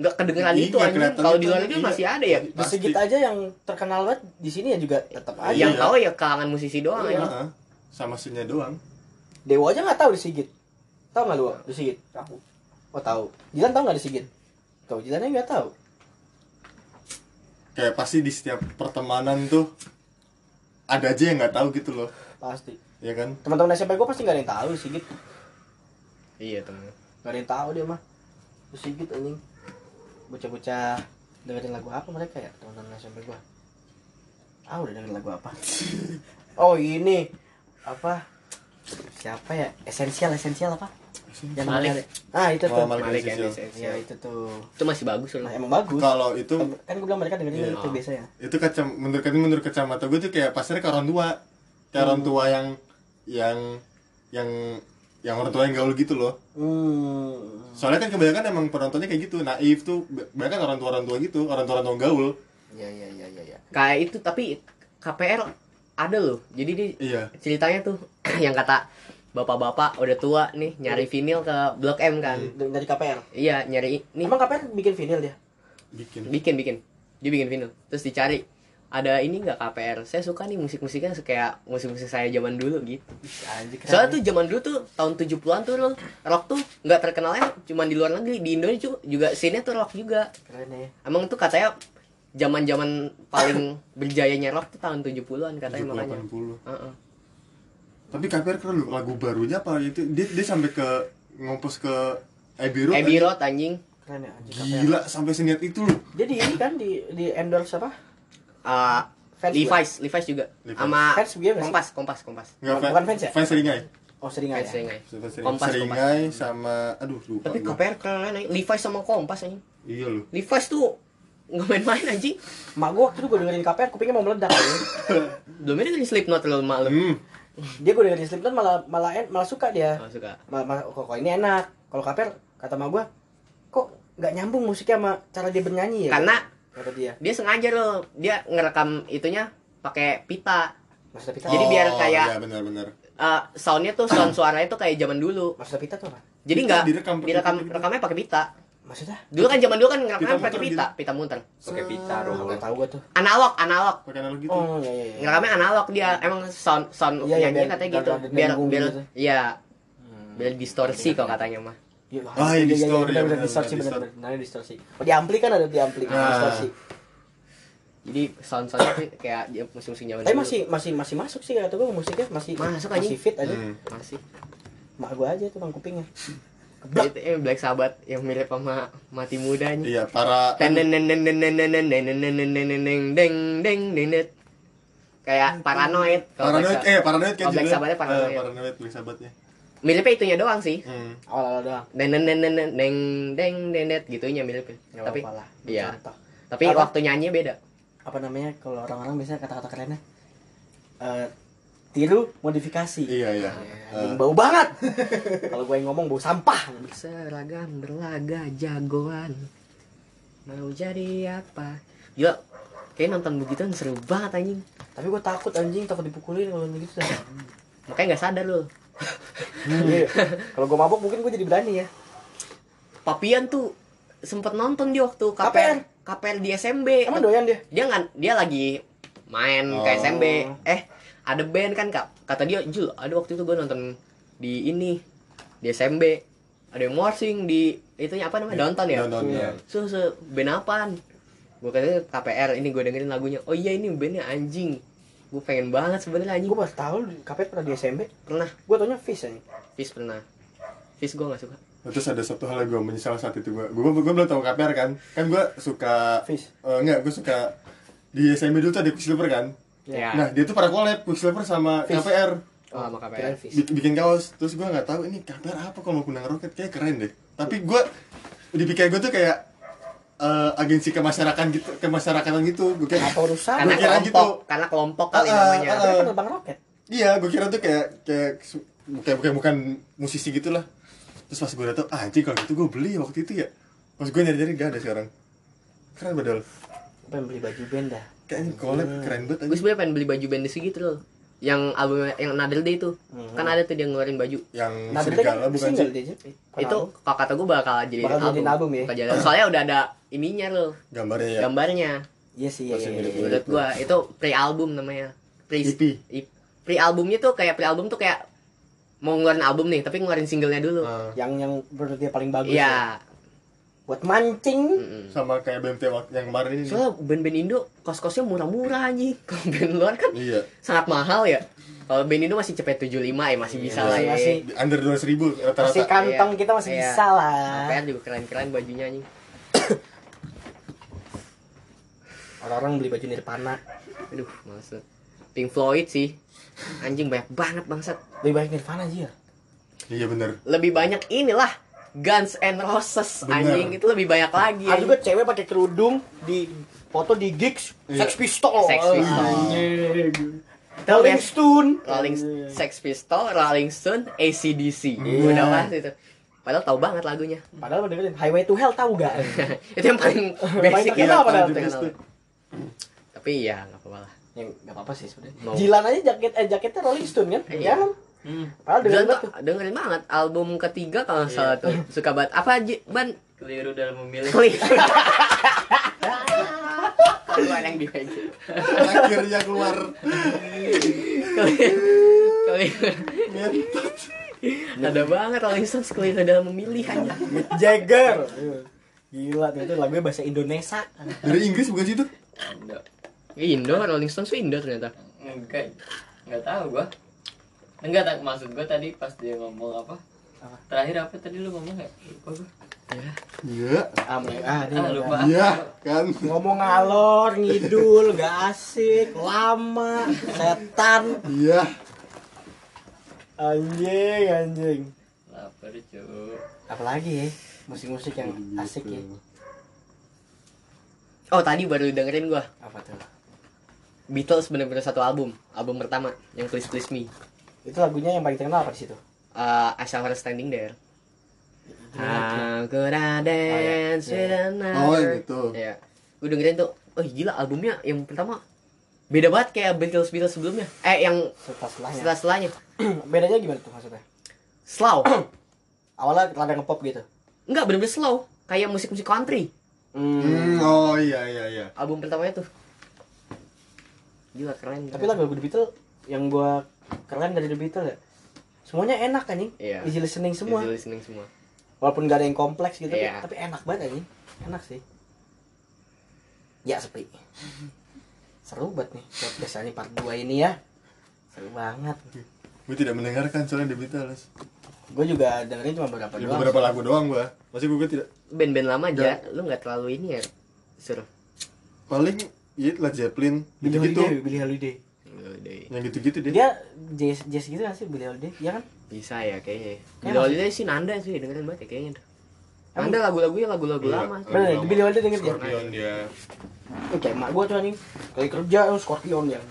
S1: nggak kedengeran
S3: Iya,
S1: itu anjing
S3: kelihatan
S1: kalau
S3: itu,
S1: di luar negeri
S3: iya.
S1: masih ada ya
S4: Di
S3: Pasti.
S4: Sigit aja yang terkenal banget di sini ya juga tetap aja.
S1: yang
S3: Iya.
S1: tahu ya kalangan musisi doang ya
S3: Iya, heeh. Sama sinya doang.
S4: Dewa aja nggak tahu di Sigit. Tahu nggak lu di Sigit? Aku. Oh tahu. Jilan tahu nggak di Sigit? Tahu Jilannya nggak tahu.
S3: Kayak pasti di setiap pertemanan tuh ada aja yang nggak tahu gitu loh.
S4: Pasti.
S3: Ya kan?
S4: Teman-teman SMP gua pasti nggak ada yang tahu di Sigit.
S1: iya temen
S4: Nggak ada yang tahu dia mah. Di Sigit anjing. Bocah-bocah dengerin lagu apa mereka ya teman-teman SMP gua? Ah udah dengerin lagu apa? Oh ini apa? Siapa ya? Esensial esensial apa? Yang
S1: Malik.
S4: ada- Ah itu tuh.
S3: Oh, Malik
S1: Malik
S3: Esensial.
S1: and Essential.
S4: Iya itu tuh.
S1: itu masih bagus loh
S4: Nah,
S3: Iya.
S4: emang bagus.
S3: Kalau itu
S4: kan gue bilang mereka dengerin ya.
S3: Iya.
S4: itu biasanya.
S3: itu kacam menurut menurut kacamata gue tuh kayak pasarnya ke orang tua kayak
S1: Hmm.
S3: orang tua yang yang yang yang orang tua yang gaul gitu loh
S4: Hmm.
S3: soalnya kan kebanyakan emang penontonnya kayak gitu naif tuh bahkan orang tua orang tua gitu orang tua orang tua gaul
S4: Iya iya iya iya. Ya.
S1: kayak itu tapi KPR ada loh jadi dia
S3: iya
S1: ceritanya tuh yang kata bapak-bapak udah tua nih
S3: Iya.
S1: nyari vinil ke Blok M kan
S4: Dari KPR.
S1: iya nyari ini
S4: Emang KPR bikin vinyl dia?
S3: bikin
S1: bikin bikin dia bikin vinyl terus dicari ada ini nggak KPR saya suka nih musik-musiknya kayak musik-musik saya zaman dulu gitu
S4: Anjir. Ya, keren.
S1: soalnya tuh zaman dulu tuh tahun 70-an tuh lo, rock tuh nggak terkenalnya cuman di luar negeri di Indonesia juga- juga sini tuh rock juga
S4: keren ya.
S1: emang tuh katanya zaman-zaman paling berjayanya rock tuh tahun 70-an katanya
S3: 70
S1: makanya
S3: 80
S1: Heeh.
S3: tapi KPR keren loh kan lagu barunya apa itu dia dia sampai ke ngompos ke Abbey Road,
S1: Abbey
S3: anjing.
S1: Road anjing
S4: Keren ya anjir KPR.
S3: gila sampai seniat itu loh
S4: Jadi ini kan di di endorse apa?
S1: Eh,
S4: Fans
S1: Levi's Levi's juga
S3: Levi's.
S1: sama
S4: Fans gue nggak sih?
S1: Kompas Kompas Kompas
S3: Nggak,
S4: Bukan-
S3: fan-
S4: bukan fans ya?
S3: fans seringai
S4: Oh sering
S1: Fans
S4: aja.
S1: Seringai.
S3: fans seringai,
S1: Kompas Kompas
S3: seringai sama aduh lupa
S1: tapi
S3: gua.
S1: KPR keren anjing Levi's sama Kompas anjing
S3: iya loh
S1: Levi's tuh nggak main-main anjing
S4: Mak gue waktu itu gue dengerin KPR kupingnya mau meledak. ya.
S1: belum ada dari Slipknot lo malu
S3: hmm
S4: dia gue dengerin Slipknot malah malah en- malah suka dia.
S1: oh, suka
S4: Malah, malah kok, kok ini enak. Kalau KPR kata mak gue kok nggak nyambung musiknya sama cara dia bernyanyi ya.
S1: Karena-
S4: kata dia
S1: dia sengaja loh dia ngerekam itunya pakai pita
S4: Mas Pita. Oh,
S1: Jadi biar kayak-
S3: iya benar-benar
S1: Eh, soundnya tuh sound suaranya tuh kayak zaman dulu
S4: Maksudnya pita tuh apa?
S1: jadi
S3: Pita
S1: nggak
S3: direkam pakai
S1: direkam
S3: pita gitu.
S1: rekamnya pakai pita
S4: Maksudnya?
S1: dulu kan zaman dulu kan ngerekamnya
S3: Pita
S1: pakai
S3: muter
S4: gitu.
S1: pita pita muter
S7: Pakai pita,
S4: Oh,
S7: roll.
S4: nggak tahu gua tuh.
S1: analog analog
S3: pakai analog gitu
S4: Oh, iya iya. iya.
S1: ngerekamnya analog dia emang sound sound
S4: Iya, iya,
S1: nyanyinya
S4: biar-
S1: katanya
S4: biar
S1: gitu
S4: ada
S1: biar
S4: nyambung
S1: biar
S4: gitu.
S1: iya biar distorsi kalau katanya mah
S4: Hmm. Iya,
S3: Ah, iya,
S4: iya, iya,
S3: distorsi,
S4: benar,
S3: iya,
S4: benar,
S3: benar,
S4: distorsi,
S3: benar,
S4: benar, benar, benar, distorsi. Oh, di ampli kan ada di ampli,
S3: Ah.
S4: distorsi.
S1: jadi sound soundnya tuh kayak dia musim-musim zaman
S4: Tapi
S1: dulu
S4: masih masih masih masuk sih kata gua musiknya masih
S1: Masuk aja.
S4: masih fit aja.
S3: Hmm.
S1: masih
S4: Mak gua aja tuh bang kupingnya.
S1: itu eh, Black Sabbath yang mirip sama mati mudanya
S3: Iya, para
S1: kayak paranoid kalau Black
S3: paranoid
S1: Sabbath.
S3: eh paranoid kan
S1: kalau Black
S3: judulnya?
S1: Sabbathnya
S3: Eh,
S1: paranoid.
S3: paranoid Black Sabbathnya.
S4: eh.
S1: miripnya itunya doang sih
S3: Hmm.
S4: Awal-awal doang.
S1: deng deng deng deng deng deng deng deng gitu gitunya miripnya
S4: Nggak
S1: ya. tapi
S4: apa-apa lah.
S1: iya.
S4: Contoh.
S1: tapi
S4: Apa?
S1: waktu nyanyi beda
S4: Apa namanya kalau orang-orang biasanya kata-kata kerennya eh tiru modifikasi.
S3: Iya, iya.
S4: Anjing, bau banget. kalau gua yang ngomong bau sampah.
S1: seragam berlaga jagoan mau jadi apa gila kayak nonton begitu seru banget anjing
S4: Tapi gua takut anjing takut dipukulin kalau gitu. begitu. dah.
S1: makanya nggak sadar loh
S4: Iya. Kalau gua mabuk mungkin gua jadi berani ya.
S1: Papian tuh sempet nonton dia waktu
S4: KPR.
S1: KPR KPR di SMB
S4: Emang doyan dia?
S1: dia nggak dia lagi main ke
S3: Oh.
S1: SMB eh ada band kan kak kata dia Jul ada waktu itu gue nonton di ini di SMB ada yang morsing di itunya apa namanya downtown ya
S3: Downtown, ya.
S1: so, so band apaan gue katanya KPR ini gue dengerin lagunya oh iya ini bandnya anjing gue pengen banget sebenarnya anjing
S4: Gue baru tahu lu di KPR pernah di SMB.
S1: pernah
S4: Gue taunya Fish aja.
S1: Fis pernah Fis gue nggak suka
S3: Terus ada satu hal yang gue menyesal saat itu gue Gue gue belum tahu KPR kan Kan gue suka
S4: Fish.
S3: eh, Enggak, gue suka Di SMB dulu tuh ada Quicksilver kan
S1: ya
S3: Nah dia tuh para collab Quicksilver sama
S4: Fish.
S3: KPR
S1: oh sama KPR
S4: Kirain Fish.
S3: Bi- Bikin kaos Terus gue gak tahu ini KPR apa kalau mau kunang roket Kayaknya keren deh Tapi gue Di pikiran gue tuh kayak eh, Agensi kemasyarakatan gitu Kemasyarakatan gitu Gue kayak
S4: Apa urusan?
S1: karena
S3: Gua kira
S1: kelompok
S3: gitu.
S1: karena kelompok kali
S3: Ah, ah,
S1: namanya
S3: ah, ah.
S4: Dia penerbang roket.
S3: Iya, gue kira tuh kayak kayak su- kayak bukan bukan musisi gitu lah. Terus pas gue datang, anjing kalau gitu gue beli waktu itu ya. Pas gue nyari-nyari gak ada sekarang. Keren badal.
S4: Gua pengen beli baju band dah.
S3: Kayaknya collab
S4: Hmm.
S3: keren banget
S1: gue
S3: anjing.
S1: sebenarnya pengen beli baju band segitu loh yang album yang Another Day itu
S4: Mhm.
S1: kan ada tuh dia ngeluarin baju
S3: Yang
S4: Nah, dia kan
S3: serigala bukan
S4: single
S3: sih?
S4: dia.
S1: itu kalau kata gue bakal jadi
S4: Bakal jadiin album ya?
S1: Bakal jadi- soalnya udah ada ininya loh
S3: Gambarnya ya.
S1: gambarnya
S4: Iya sih,
S3: Masih
S4: iya, iya,
S3: mirip.
S4: iya.
S1: menurut gue itu pre album namanya pre
S4: E
S3: EP.
S1: pre albumnya tuh kayak pre album tuh kayak mau ngeluarin album nih tapi ngeluarin singlenya dulu
S3: Nah,
S4: Yang yang menurut dia paling Ah, bagus. ya.
S1: iya
S4: Buat mancing.
S1: Mm-mm.
S3: sama kayak BMT wak- yang kemarin ini.
S1: soalnya band-band Indo kos-kosnya murah-murah anjing kalau band luar kan
S3: Iya.
S1: sangat mahal ya kalau band Indo masih cepet 75 ya masih bisa lah ya
S4: Iya, masih-
S3: Di Under 200 ribu
S4: Masih kan?
S3: rata-rata.
S4: kantong
S1: Iya.
S4: kita masih
S1: Iya.
S4: bisa lah.
S1: KPR juga keren-keren bajunya anjing
S4: Orang-orang beli baju Nirvana.
S1: aduh males banget. Pink Floyd sih anjing banyak banget bangsat
S4: Lebih banyak Nirvana aja.
S3: Iya bener.
S1: lebih banyak inilah Guns and Roses
S3: Bener.
S1: anjing itu lebih banyak lagi
S4: Ada
S1: anjing.
S4: juga cewek pakai kerudung di foto di gigs
S3: Iya.
S4: Sex Pistol.
S1: Sex Pistol.
S4: Anjing. Rolling Stone.
S1: Rolling
S4: Iya,
S1: Sex Pistol, Rolling Stone, ACDC udah pasti itu padahal tahu banget lagunya
S4: Padahal pada dengerin Highway to Hell tahu gak?
S1: Iya. itu yang paling basic
S4: Paling terkenal
S1: ya,
S4: padahal.
S1: paling terkenal. tapi ya nggak apa-apa lah
S4: yang nggak apa-apa sih sebenarnya.
S1: Mau.
S4: Jilan aja jaket eh jaketnya Rolling Stone kan?
S1: Iya.
S4: Iya. kan?
S2: Hmm.
S4: Padahal dengerin
S1: Glenn tuh
S4: banget tuh. Iya.
S1: dengerin banget album ketiga kalau nggak salah tuh suka banget apa Ji? ban
S2: Keliru dalam memilih.
S1: klik keluar yang dipegang
S3: Akhirnya keluar.
S1: Keliru.
S3: Ngentot.
S1: ada banget Rolling Stones keliru dalam memilih aja
S4: Mick Jagger. Gila, itu lagunya bahasa Indonesia.
S3: Dari Inggris bukan sih itu?
S2: Enggak.
S1: Indo Rolling Stones tuh Indo ternyata
S2: Enggak. Enggak tahu gua. Enggak tak maksud gua tadi pas dia ngomong apa?
S4: Apa?
S2: Terakhir apa tadi lu ngomong ya? Lupa gua.
S3: Iya.
S4: Ah, men- ah, ini
S2: Ah,
S4: ada.
S2: lupa.
S3: Iya kan.
S4: Ngomong ngalor, ngidul, gak asik, lama, setan.
S3: Iya.
S4: Anjing, anjing.
S2: Lapar, Cuk.
S4: Apalagi ya? Musik-musik yang
S3: Iya, gitu.
S4: asik ya.
S1: oh tadi baru dengerin gua
S4: Apa tuh?
S1: Beatles bener-bener satu album album pertama yang Please Please Me
S4: Itu lagunya yang paling terkenal apa di situ?
S1: uh, I Shall Her Standing There How could I dance
S4: Oh, iya.
S1: with another
S3: Oh, yang itu.
S1: Iya. Gua dengerin tuh oh gila albumnya yang pertama beda banget kayak Beatles Beatles sebelumnya eh yang
S4: Setelah setelahnya.
S1: setelah setelahnya
S4: Bedanya gimana tuh maksudnya?
S1: slow
S4: Awalnya rada ngepop gitu.
S1: enggak bener-bener slow kayak musik-musik country
S3: Hmm, oh iya iya iya.
S1: album pertamanya tuh gila keren
S4: Tapi lagu-lagu The Beatles yang gua keren dari The Beatles ya. Semuanya enak anjing.
S1: Iya.
S4: Easy listening semua.
S1: Easy listening semua
S4: Walaupun gak ada yang kompleks gitu
S1: Iya.
S4: tapi enak banget anjing. Enak sih. Ya sepi. Seru banget nih podcast ini part 2 ini ya. Seru banget.
S3: Gue tidak mendengarkan soalnya The Beatles.
S4: Gue juga dengerin cuma beberapa
S3: Ya,
S4: doang.
S3: beberapa lagu doang gua. Masih gua tidak
S1: band-band lama aja lu nggak terlalu ini ya suruh
S3: paling ya Led Zeppelin
S4: Billy
S3: gitu-gitu.
S4: Holiday, Billy Holiday.
S1: Lu deh.
S3: Yang gitu-gitu deh.
S4: Iya, Dia jazz jazz gitu kan sih Billy Holiday? Iya kan?
S1: bisa ya kayaknya
S4: Kayak
S1: Billie Holiday sih Nanda sih dengerin banget ya kayaknya tuh. Nanda lagu-lagunya lagu-lagu lama sih.
S4: Bener, Billy Holiday denger dia.
S3: Iya. Scorpion dia.
S4: Oke, mak gua tuh anjing. Kali kerja eh, Scorpion yang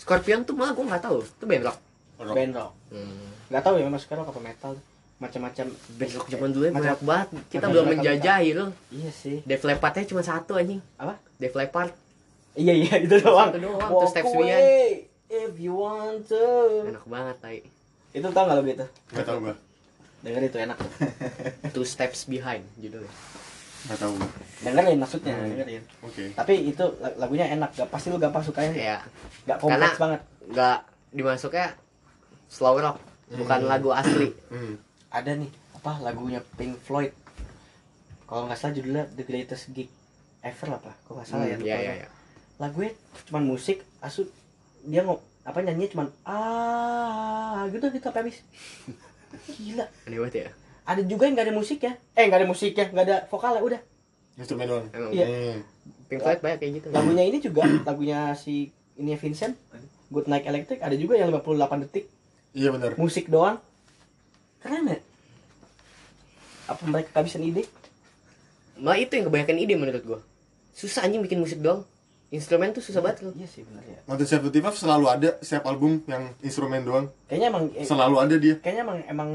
S1: Scorpion tuh malah gue nggak tahu tuh band rock
S3: Rock.
S4: band rock. Gak tahu ya mas sekarang apa metal macam-macam
S1: band rock zaman dulu ya
S4: Macam-
S1: banyak banget kita
S4: macam-
S1: belum
S4: macam-
S1: menjajahi lu
S4: Iya sih.
S1: Def Leppardnya cuma satu anjing
S4: Apa?
S1: Def Leppard
S4: Iya iya itu doang.
S1: Itu doang,
S4: Walk
S1: terus Steps
S4: away
S1: Wian.
S4: If you want to.
S1: enak banget tai
S4: Itu tau gak lo gitu?
S3: Enggak tahu gua.
S4: Dengar itu enak.
S1: Two Steps Behind judulnya
S3: nggak tahu oke
S4: dengerin maksudnya
S3: Hmm.
S4: dengerin tapi itu la- lagunya enak gak pasti lu gampang sukanya
S1: ya
S4: gak kompleks
S1: Karena-
S4: banget
S1: nggak dimasuknya slow rock bukan
S3: Hmm.
S1: lagu asli
S3: hmm.
S4: ada nih apa lagunya Pink Floyd kalau nggak salah judulnya The Greatest Gig Ever apa kok nggak salah
S1: ya
S4: ya lupa
S1: ya
S4: gua.
S1: ya
S4: lagunya cuman musik asu dia ngop apa nyanyinya cuman ah gitu gitu sampai habis gila
S1: aneh banget ya
S4: ada juga yang nggak ada musiknya eh nggak ada musiknya nggak ada vokalnya udah
S3: instrumen doang
S1: emang
S4: Iya.
S3: Hmm.
S1: Pink Floyd banyak kayak gitu
S4: lagunya ini juga lagunya si ini ya, Vincent Good Night Electric ada juga yang 58 detik
S3: iya benar
S4: musik doang keren ya apa mereka kehabisan ide
S1: malah itu yang kebanyakan ide menurut gua susah anjing bikin musik doang instrumen tuh susah banget loh
S4: iya sih benar ya
S3: Mountain Seventy Five selalu ada setiap album yang instrumen doang
S4: kayaknya emang eh,
S3: selalu ada dia
S4: kayaknya emang emang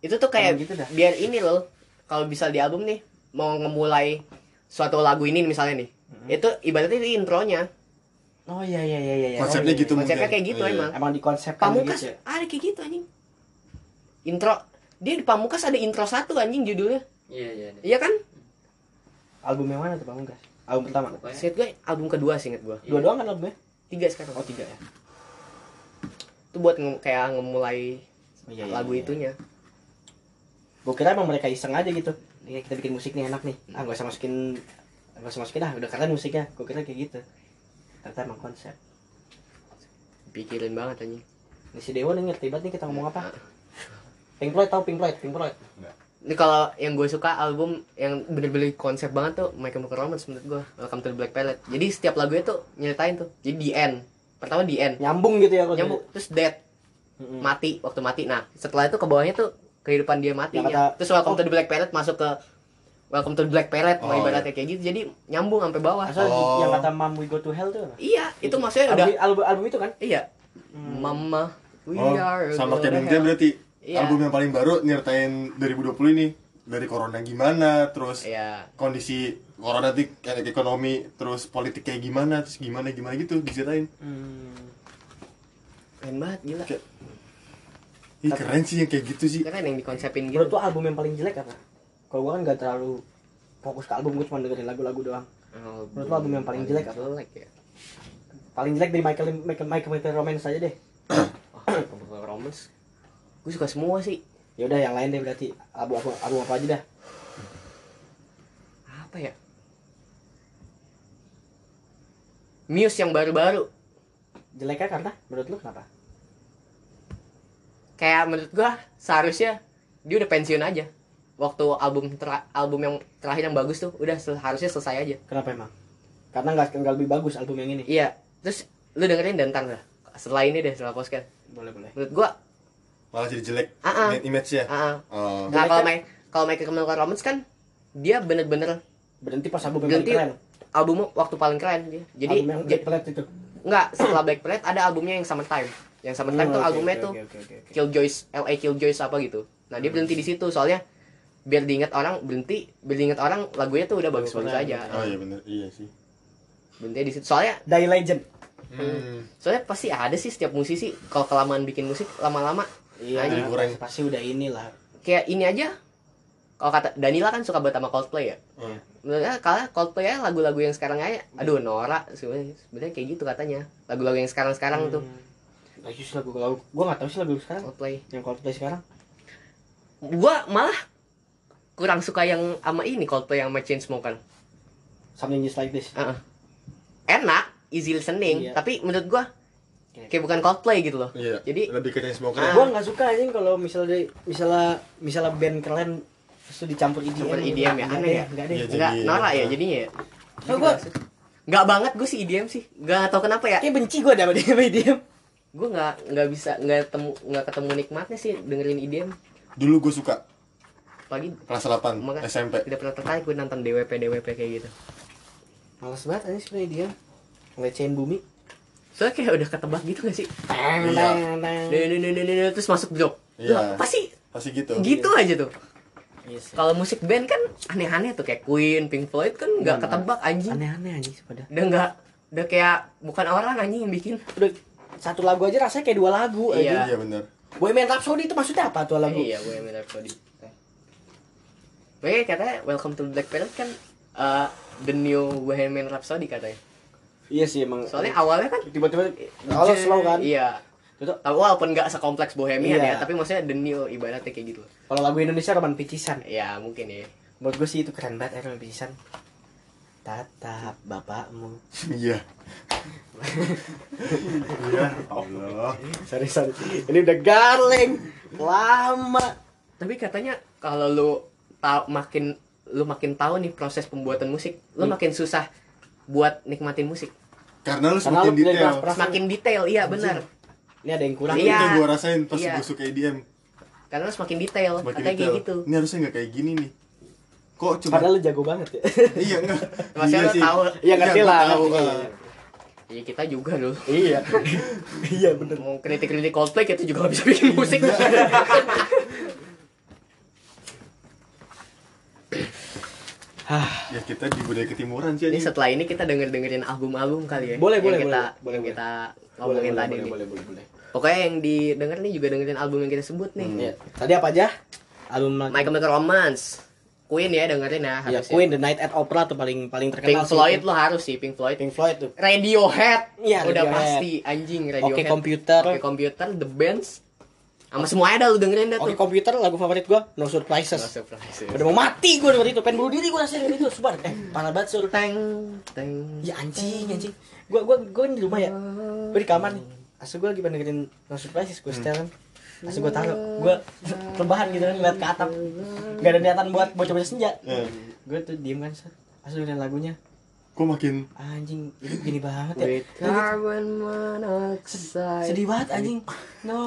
S1: itu tuh kayak
S4: Emang gitu dah.
S1: biar ini loh kalau bisa di album nih mau ngemulai suatu lagu ini misalnya nih itu ibaratnya itu intronya
S4: oh iya iya iya iya iya.
S3: konsepnya
S4: Oh, iya,
S3: gitu
S4: iya.
S1: Konsepnya
S3: mungkin
S1: kayak gitu
S3: Iya.
S1: emang.
S4: emang di konsep
S1: Pamukas
S4: gitu ya.
S1: ada kayak gitu anjing intro dia di Pamukas ada intro satu anjing judulnya
S2: Iya, iya. iya.
S1: iya kan
S4: album yang mana tuh Pamukas album pertama
S2: Pokoknya
S1: Seinget gue album kedua sih inget gue
S2: Iya.
S4: dua doang kan albumnya
S1: Tiga sekarang
S4: oh tiga ya
S1: Itu buat nge- kayak ngemulai
S4: Oh, iya, iya,
S1: lagu
S4: iya.
S1: itunya
S4: gue kira emang mereka iseng aja gitu ini kita bikin musik nih enak nih ah gak usah masukin gak usah masukin ah udah keren musiknya gue kira kayak gitu ternyata emang konsep
S1: Pikirin banget anjing
S4: ini si Dewa nih ngerti banget nih kita ngomong apa Pink Floyd tau Pink Floyd Pink Floyd
S1: Ini kalau yang gue suka album yang bener-bener konsep banget tuh My Chemical Romance menurut gue Welcome to the Black Palette Jadi setiap lagunya tuh nyeritain tuh Jadi the end Pertama the end
S4: nyambung gitu ya kalau
S1: Nyambung Terus dead
S4: Mm-mm.
S1: Mati Waktu mati Nah setelah itu ke bawahnya tuh Kehidupan dia matinya
S4: Yang kata-
S1: Terus Welcome
S4: oh. iya.
S1: to the Black Palette masuk ke Welcome to the Black Palette
S3: Oh,
S1: mau ibaratnya kayak gitu Jadi nyambung sampai bawah
S4: Asal
S3: Oh.
S4: yang kata Mom We Go To Hell tuh apa?
S1: Iya itu maksudnya udah
S4: Album, album, album itu kan?
S1: Iya Mama We
S3: Oh,
S1: are
S3: sama
S1: gonna
S3: kayak Bing Jam
S1: have-
S3: berarti
S1: Iya.
S3: album yang paling baru nyertain 2020 ini dari corona gimana terus
S1: Iya
S3: kondisi corona nanti kayak ekonomi terus politik kayak gimana terus gimana gimana gitu diceritain
S4: Mm.
S1: Keren banget gila
S3: Kayak- Ih keren sih yang kayak gitu sih
S1: Keren yang dikonsepin gitu
S4: Menurut tuh album yang paling jelek apa? Kalau gua kan gak terlalu fokus ke album, gua cuma dengerin lagu-lagu doang. Menurut lu album yang paling jelek apa?
S1: Oh, Jelek ya
S4: Paling jelek dari Michael Michael Michael, Michael Romance aja deh.
S1: Chemical Romance Gue suka semua sih
S4: Ya udah yang lain deh berarti album album, album apa aja dah.
S1: Apa ya Muse yang baru-baru
S4: Jeleknya karena menurut lu kenapa?
S1: Kayak menurut gua Seharusnya Dia udah pensiun aja Waktu album ter- album yang terakhir yang bagus tuh Udah sel- harusnya selesai aja
S4: Kenapa emang? Karena nggak nggak lebih bagus album yang ini.
S1: Iya Terus Lu dengerin dan ntar lah Setelah ini deh Setelah podcast
S4: Boleh boleh.
S1: Menurut gua
S3: malah jadi jelek
S1: Ah, ah.
S3: im-
S1: ah,
S3: image-nya
S1: ah.
S3: oh.
S1: Nah kalau main kalau main Chemical Romance kan Dia bener-bener
S4: Berhenti pas album yang
S1: Berhenti
S4: paling keren.
S1: albumnya waktu paling keren dia. Jadi
S4: album yang
S1: ja-
S4: Black Planet itu.
S1: Enggak, setelah Black Planet ada albumnya yang Summertime. Yang Summertime
S4: Hmm,
S1: tuh
S4: oke,
S1: albumnya
S4: oke,
S1: tuh
S4: oke, oke, oke.
S1: Killjoys, LA Killjoys apa gitu. Nah, dia berhenti di situ soalnya biar diingat orang berhenti, biar diingat orang lagunya tuh udah bagus-bagus
S4: keren,
S1: aja.
S3: oh iya bener iya sih
S1: Berhenti di situ. Soalnya
S4: Die Legend.
S3: hmm.
S1: soalnya pasti ada sih setiap musisi kalau kelamaan bikin musik lama-lama
S3: jadi
S4: Iya,
S3: kurang.
S4: pasti, pasti udah inilah.
S1: kayak ini aja kalau kata Danila kan suka banget sama Coldplay ya.
S3: Hmm.
S1: Menurutnya kalau Coldplay ya lagu-lagu yang sekarang aja aduh Nora sebenarnya sebenarnya kayak gitu katanya. Lagu-lagu yang sekarang-sekarang tuh
S4: Hmm. Lagi Nah, sih lagu lagu. Gua nggak tahu sih lagu sekarang.
S1: Coldplay.
S4: Yang Coldplay sekarang.
S1: gua malah kurang suka yang sama ini Coldplay yang sama Chainsmokers.
S4: Something just like this.
S1: Heeh. Enak, easy listening,
S4: Iya.
S1: tapi menurut gua
S4: Oke.
S1: kayak bukan Coldplay gitu loh.
S3: iya
S1: Jadi-
S3: lebih keren semua
S1: Ah.
S4: Gua nggak suka anjing kalau misalnya misalnya misalnya band keren terus tuh dicampur IDM.
S1: Campur IDM ya,
S4: Nggak
S1: aneh
S4: deh,
S1: ya?
S4: Nggak deh.
S3: Iya,
S1: Enggak
S3: Jadi-
S1: norak ya
S3: ah.
S1: jadinya ya.
S4: Soalnya gua
S1: Enggak banget gua sih IDM sih. Enggak tau kenapa ya.
S4: kayak benci gua sama dia sama E IDM.
S1: Gua enggak enggak bisa enggak ketemu enggak ketemu nikmatnya sih dengerin IDM.
S3: dulu gue suka
S1: Pagi
S3: kelas 8
S1: Makanya-
S3: SMP
S1: tidak pernah tertarik gue nonton DWP DWP kayak gitu.
S4: Males banget anjing sebenarnya IDM. Ngelecehin bumi.
S1: Soalnya kayak udah ketebak gitu gak sih?
S4: Tang,
S3: Iya.
S4: tang, tang.
S1: Nih, nih, nih, nih, nih, nih, Terus masuk blok.
S3: Iya.
S1: Pasti
S3: pasti gitu
S1: gitu aja tuh.
S4: Iya sih.
S1: Kalau musik band kan aneh-aneh tuh kayak Queen, Pink Floyd kan
S3: Iya,
S1: nggak ketebak anjing.
S4: Aneh-aneh anjing sepada.
S1: Udah nggak udah kayak bukan orang anjing yang bikin.
S4: Udah satu lagu aja rasanya kayak dua
S1: Iya.
S4: lagu anjing.
S3: iya bener
S4: Bohemian Rhapsody itu maksudnya apa tuh lagu?
S1: Iya, gue yang minta tadi. Oke, katanya Welcome to Black Parade kan eh, the new Bohemian Rhapsody katanya.
S4: Iya sih emang.
S1: Soalnya awalnya kan
S4: tiba-tiba kalau slow kan.
S1: Iya.
S4: Itu
S1: Tapi walaupun nggak sekompleks Bohemian ya,
S4: Iya.
S1: tapi maksudnya the new ibaratnya kayak gitu.
S4: kalau lagu Indonesia roman picisan.
S1: Ya mungkin ya.
S4: Menurut gue sih itu keren banget ya roman picisan. Tatap bapakmu.
S3: Iya. Iya. Allah.
S4: Sorry sorry. Ini udah garleng. Lama.
S1: Tapi katanya kalau lu tahu makin lu makin tahu nih proses pembuatan musik, lu
S4: Hmm.
S1: makin susah buat nikmatin musik.
S3: Karena lu
S4: Karena
S3: semakin
S4: lu punya
S3: detail.
S4: kelas- Rasanya-
S1: Semakin detail, iya benar.
S4: Ini ada yang kurang.
S3: Itu
S1: Iya.
S3: yang gua rasain pas
S1: Iya.
S3: gua suka EDM.
S1: Karena lu semakin detail,
S3: Semakin
S1: katanya
S3: detail.
S1: kayak gitu.
S3: Ini harusnya nggak kayak gini nih. Kok cuma
S4: Padahal lu jago banget ya.
S3: iya enggak.
S1: Maksudnya lu tahu.
S4: Iya ngerti
S3: Iya, gua
S4: lah.
S3: tahu,
S4: ngerti.
S3: ah.
S1: Ya kita juga loh.
S4: Iya. Iya bener. Iya.
S1: Mau kritik-kritik Coldplay kita juga gak bisa bikin musik.
S3: Ya kita di budaya ketimuran sih.
S1: Ini
S3: anjing.
S1: setelah ini kita denger-dengerin album-album kali ya.
S4: Boleh,
S1: yang
S4: boleh,
S1: kita,
S4: boleh, boleh,
S1: yang
S4: boleh.
S1: kita
S4: Boleh,
S1: ngomongin
S4: boleh,
S1: tadi
S4: boleh,
S1: nih.
S4: boleh, boleh, boleh.
S1: Pokoknya yang didengar nih juga dengerin album yang kita sebut nih.
S4: Iya. Tadi apa aja? Album
S1: My Chemical Romance. Queen ya dengerin ya
S4: Ya,
S1: harus ya.
S4: Queen The Night at Opera tuh paling paling
S1: Pink
S4: terkenal. sih.
S1: Floyd lo harus sih Pink Floyd.
S4: Pink Floyd tuh.
S1: Radiohead.
S4: Iya,
S1: udah
S4: Radiohead.
S1: pasti anjing
S4: Oke
S1: Radiohead.
S4: komputer.
S1: Oke Computer, The Bands. Sama semua ada lu dengerin dah
S4: Oke
S1: tuh.
S4: komputer lagu favorit gua
S1: No
S4: No Surprises.
S1: surprise.
S4: Udah mau mati gua dengerin itu, pengen bunuh diri gua rasanya dengerin itu, sumpah. Eh, parah banget sur.
S1: Teng teng.
S4: Ya anjing, anjing. Gua gua gua di rumah
S1: Iya,
S4: ya. Gua di kamar nih. Asu gua lagi pengen dengerin No Surprises gua setelan. Asu gua taruh, gua rebahan gitu kan ngeliat ke atap. Gak ada niatan buat bocah-bocah senja.
S3: Eh,
S4: Gua tuh diem kan, sur. Asu dengerin lagunya.
S3: Kok makin
S4: Anjing, ini gini banget ya.
S1: With carbon monoxide.
S4: Sedih banget anjing. No.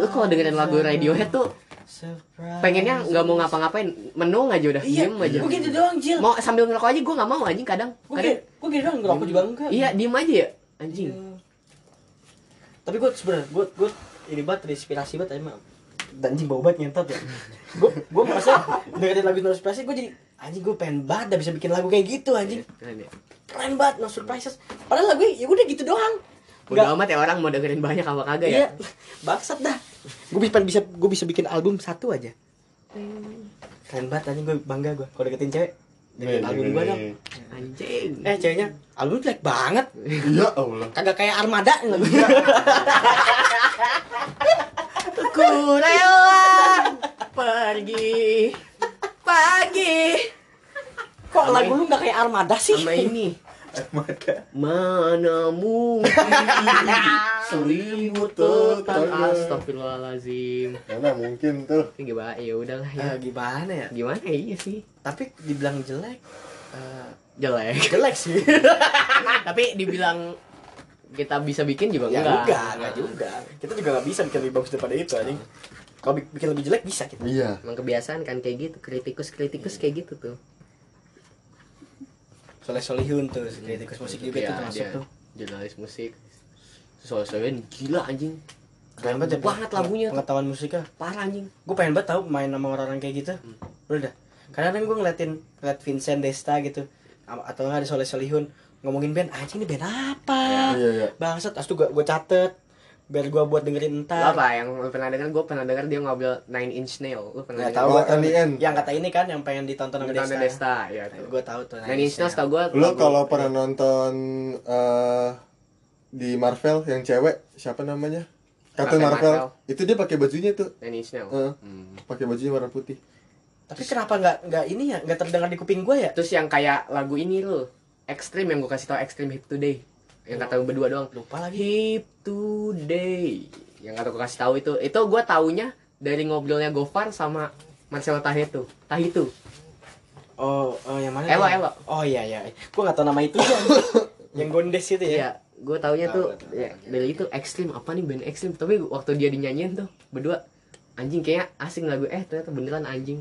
S1: Lu kalau dengerin lagu Radiohead tuh
S4: Surprise.
S1: pengennya nggak mau ngapa-ngapain, menung aja udah,
S4: Iya,
S1: diem aja.
S4: gua gitu doang, Jil.
S1: Mau sambil ngerokok aja gue nggak mau anjing kadang.
S4: Gue
S1: Kadang-
S4: gini, gue gini gitu doang ngerokok juga enggak.
S1: Iya, diem aja ya anjing.
S4: Iya. Tapi gue sebenernya, gue gue ini banget terinspirasi banget emang. Dan anjing bau banget ngentot ya. Gue gue merasa dengerin lagu No Surprises gue jadi anjing gue pengen banget dah bisa bikin lagu kayak gitu anjing.
S1: Keren ya.
S4: Keren banget No Surprises. Padahal lagu ya udah gitu doang.
S1: Udah
S4: Nggak-
S1: amat ya orang mau dengerin banyak apa kagak ya.
S4: Iya. Bangsat dah. Gue bisa bisa gue bisa bikin album satu aja. Keren banget anjing gue bangga gue kalau deketin cewek. Dengerin
S3: Nih,
S4: album
S3: dengerin
S4: gue dong.
S3: nih.
S1: Anjing.
S4: Eh ceweknya, album jelek banget.
S3: Ya Allah.
S4: Kagak kayak Armada nih lagu.
S1: Ku rela pergi pagi
S4: Kok lagu lu gak kayak Armada sih?
S1: sama ini
S7: Mata.
S1: mana mungkin
S3: Selimut
S1: tetap
S3: tetangga.
S1: astagfirullahalazim
S3: Mana Ya, mungkin tuh.
S1: ini gimana ya udahlah ya
S4: Eh, gimana ya?
S1: gimana iya sih
S4: Tapi dibilang jelek, eh,
S1: jelek
S4: jelek sih.
S1: Ah, tapi dibilang kita bisa bikin juga
S4: ya
S1: enggak
S4: enggak, enggak juga. Kita juga gak bisa bikin lebih bagus daripada itu anjing. Kalau bi- bikin lebih jelek bisa kita.
S3: Iya.
S1: emang kebiasaan kan kayak gitu kritikus kritikus kayak gitu tuh
S4: Soleh Solihun tuh, kritikus musik juga
S1: Iya,
S4: tuh termasuk
S1: dia
S4: tuh.
S1: jurnalis musik soalnya gila anjing
S4: Keren
S1: banget,
S4: banget, ya,
S1: banget lagunya tuh.
S4: Pengetahuan musiknya.
S1: parah anjing
S4: Gue pengen banget tau main sama orang-orang kayak gitu. Udah dah. Kadang-kadang gue ngeliatin, ngeliat Vincent Desta gitu. Am- Atau nggak ada Soleh Solihun. Ngomongin band, anjing ini band apa?
S3: Iya, iya.
S4: Bangsat, as tuh gue catet. Biar gue buat dengerin
S1: Lu
S4: entar.
S1: apa yang lu pernah denger gue pernah denger dia ngobrol Nine Inch Nail lu pernah denger
S4: Nggak tahu
S3: Oh,
S4: gua tahu.
S3: NIN.
S4: Yang kata ini kan yang pengen ditonton sama
S1: Nonton
S4: Desta.
S1: Desta ya tuh
S4: Gue tahu tuh.
S1: Nine Inch Nails tau gue
S3: Lo kalau pernah nonton eh, di Marvel yang cewek siapa namanya?
S1: Captain
S3: Captain Marvel. Itu dia pakai bajunya tuh.
S1: Nine Inch Nails
S3: Eh, pakai bajunya warna putih.
S4: Tapi kenapa nggak nggak ini ya? Nggak terdengar di kuping gue ya?
S1: terus yang kayak lagu ini lu Extreme yang gue kasih tau Extreme Hip Today yang kata lu berdua doang
S4: Lupa lagi.
S1: Hip Today yang kata gue kasih tahu itu itu gue taunya dari ngobrolnya Gofar sama Marcelo Tahitu Tahitu
S4: Oh, oh, yang mana?
S1: Elo,
S4: tuh?
S1: Elo.
S4: Oh iya iya. Gue nggak tahu nama itu ya. yang gondes itu ya.
S1: Iya, gue taunya
S7: Tahu,
S1: tuh
S7: tahu,
S1: ya, dari itu ekstrim apa nih band ekstrim. Tapi waktu dia dinyanyiin tuh berdua anjing kayak asing lagu eh ternyata beneran anjing.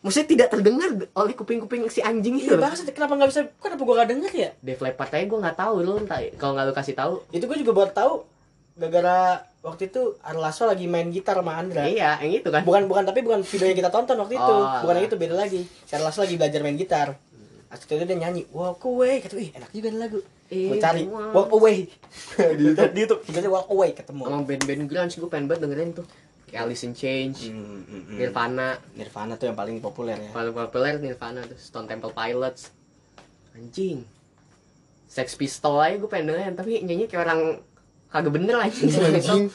S1: Maksudnya tidak terdengar oleh kuping-kuping si anjing itu.
S4: Iya
S1: loh.
S4: banget. Kenapa nggak bisa? Kenapa gue nggak denger ya?
S1: Def Leppard aja gue nggak tahu lu entah kalau nggak lu kasih tahu.
S4: Itu gue juga baru tahu gara-gara waktu itu Arlaso lagi main gitar sama Andra.
S1: Iya, yang itu kan.
S4: Bukan bukan tapi bukan video yang kita tonton waktu itu.
S1: Oh.
S4: bukan yang itu beda lagi. Si Arlaso lagi belajar main gitar. Asli itu dia nyanyi Walk Away kata ih enak juga nih lagu. Gue cari Walk Away di YouTube. Di YouTube. Jadi Walk Away ketemu.
S1: Sama band-band grunge gue pengen banget dengerin tuh. kayak Alice in Change
S4: Hmm, hmm, hmm.
S1: Nirvana
S4: Nirvana tuh yang paling populer ya.
S1: paling populer Nirvana tuh Stone Temple Pilots anjing Sex Pistol aja gue pengen dengerin tapi nyanyi kayak orang kagak bener anjing Sex Pistol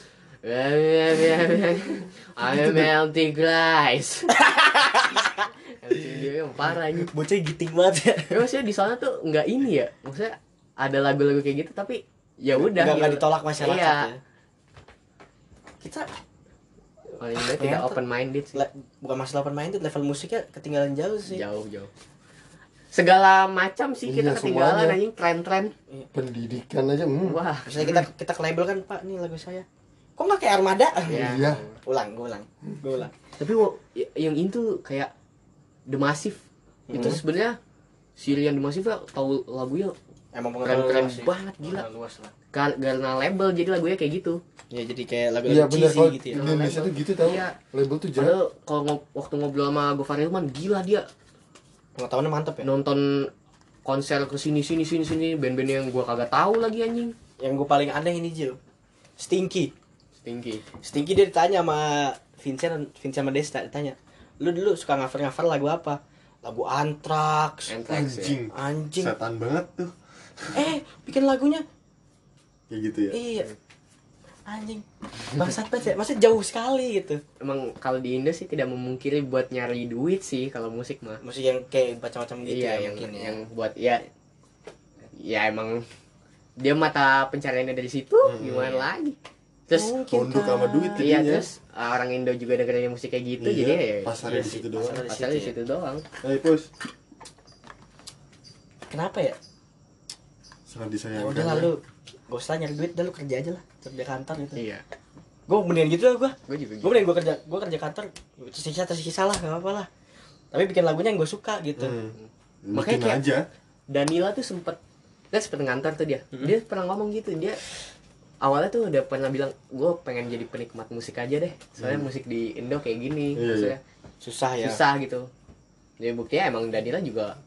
S1: I'm melting glass Anjing dia yang parah anjing
S4: Bocah giting banget ya.
S1: Ya maksudnya di sana tuh nggak ini ya Maksudnya ada lagu-lagu kayak gitu tapi ya udah
S4: Nggak- nggak
S1: gitu.
S4: ditolak masyarakat
S1: Iya.
S4: ya. Kita
S1: Paling enggak tidak
S4: Ternyata-
S1: open minded sih
S4: le- bukan masalah open minded, level musiknya ketinggalan jauh Iya sih.
S1: Jauh jauh Segala macam sih kita
S3: Iya,
S1: ketinggalan
S3: semuanya.
S1: anjing tren-tren
S3: pendidikan aja hmm.
S1: Wah
S4: Misalnya kita kita ke label kan, Pak, nih lagu saya. Kok nggak kayak Armada?
S1: Iya.
S3: iya
S4: ulang, gue ulang. Gue ulang.
S1: tapi wo- y- yang itu kayak The Massive itu
S4: Hmm.
S1: sebenarnya Sirian The Massive ya tahu lagunya
S4: Emang
S1: keren-keren
S4: luas sih.
S1: banget gila
S4: Pengetahuan luas lah.
S1: Kar- karena label jadi lagunya kayak gitu
S4: Ya jadi kayak lagu-lagu
S3: iya bener
S4: cheesy
S3: kalau
S4: gitu
S3: di
S4: ya.
S1: Iya.
S3: Indonesia tuh gitu tau
S1: Iya.
S3: label tuh jahat
S1: padahal kalau ngob- waktu ngobrol sama Gofar Hilman gila dia
S4: Pengetahuannya mantep ya.
S1: nonton konser ke sini sini sini sini band-band yang gua kagak tahu lagi anjing
S4: Yang gue paling aneh ini Jil. Stinky.
S1: Stinky
S4: Stinky dia ditanya sama Vincent, Vincent sama Desta ditanya, lu dulu suka cover-cover lagu apa? Lagu Anthrax.
S1: Anthrax ya.
S3: anjing
S4: Anjing.
S3: setan banget tuh
S4: Eh, bikin lagunya.
S3: kayak gitu ya
S4: Iya. Anjing. Bangsat banget ya. Maksudnya jauh sekali gitu.
S1: emang kalau di Indo sih tidak memungkiri buat nyari duit sih kalau musik mah
S4: Musik yang kayak macam-macam gitu
S1: iya
S4: ya
S1: yang
S4: mungkin ya.
S1: yang buat ya ya emang dia mata pencariannya dari situ gimana lagi terus
S4: Mungkin
S3: tunduk
S4: kan.
S3: sama duit
S1: iya
S3: jadinya
S1: terus uh, orang Indo juga dengerin musik kayak gitu
S3: Iya,
S1: jadi ya
S3: pasarnya di
S4: iya sih,
S3: situ doang
S4: pasarnya.
S1: pasarnya di situ doang
S3: eh pus
S4: Kenapa ya?
S3: sangat
S4: Ya
S3: disayangkan
S4: udah lah lu gak usah nyari duit dah lu kerja aja lah kerja kantor gitu
S1: iya
S4: gue mendingan gitu lah gue
S1: gue juga
S4: gue mendingan gue kerja gue kerja kantor tersiksa tersiksa lah gak apa-apa lah tapi bikin lagunya yang gue suka gitu
S3: Hmm.
S1: Makanya
S3: Bikin
S1: kayak-
S3: aja
S1: Danila tuh sempet dia sempet ngantor tuh dia dia pernah ngomong gitu dia awalnya tuh udah pernah bilang gue pengen jadi penikmat musik aja deh soalnya musik di Indo kayak gini
S3: Iya, iya.
S1: maksudnya
S4: susah ya
S1: susah gitu jadi buktinya emang Danila juga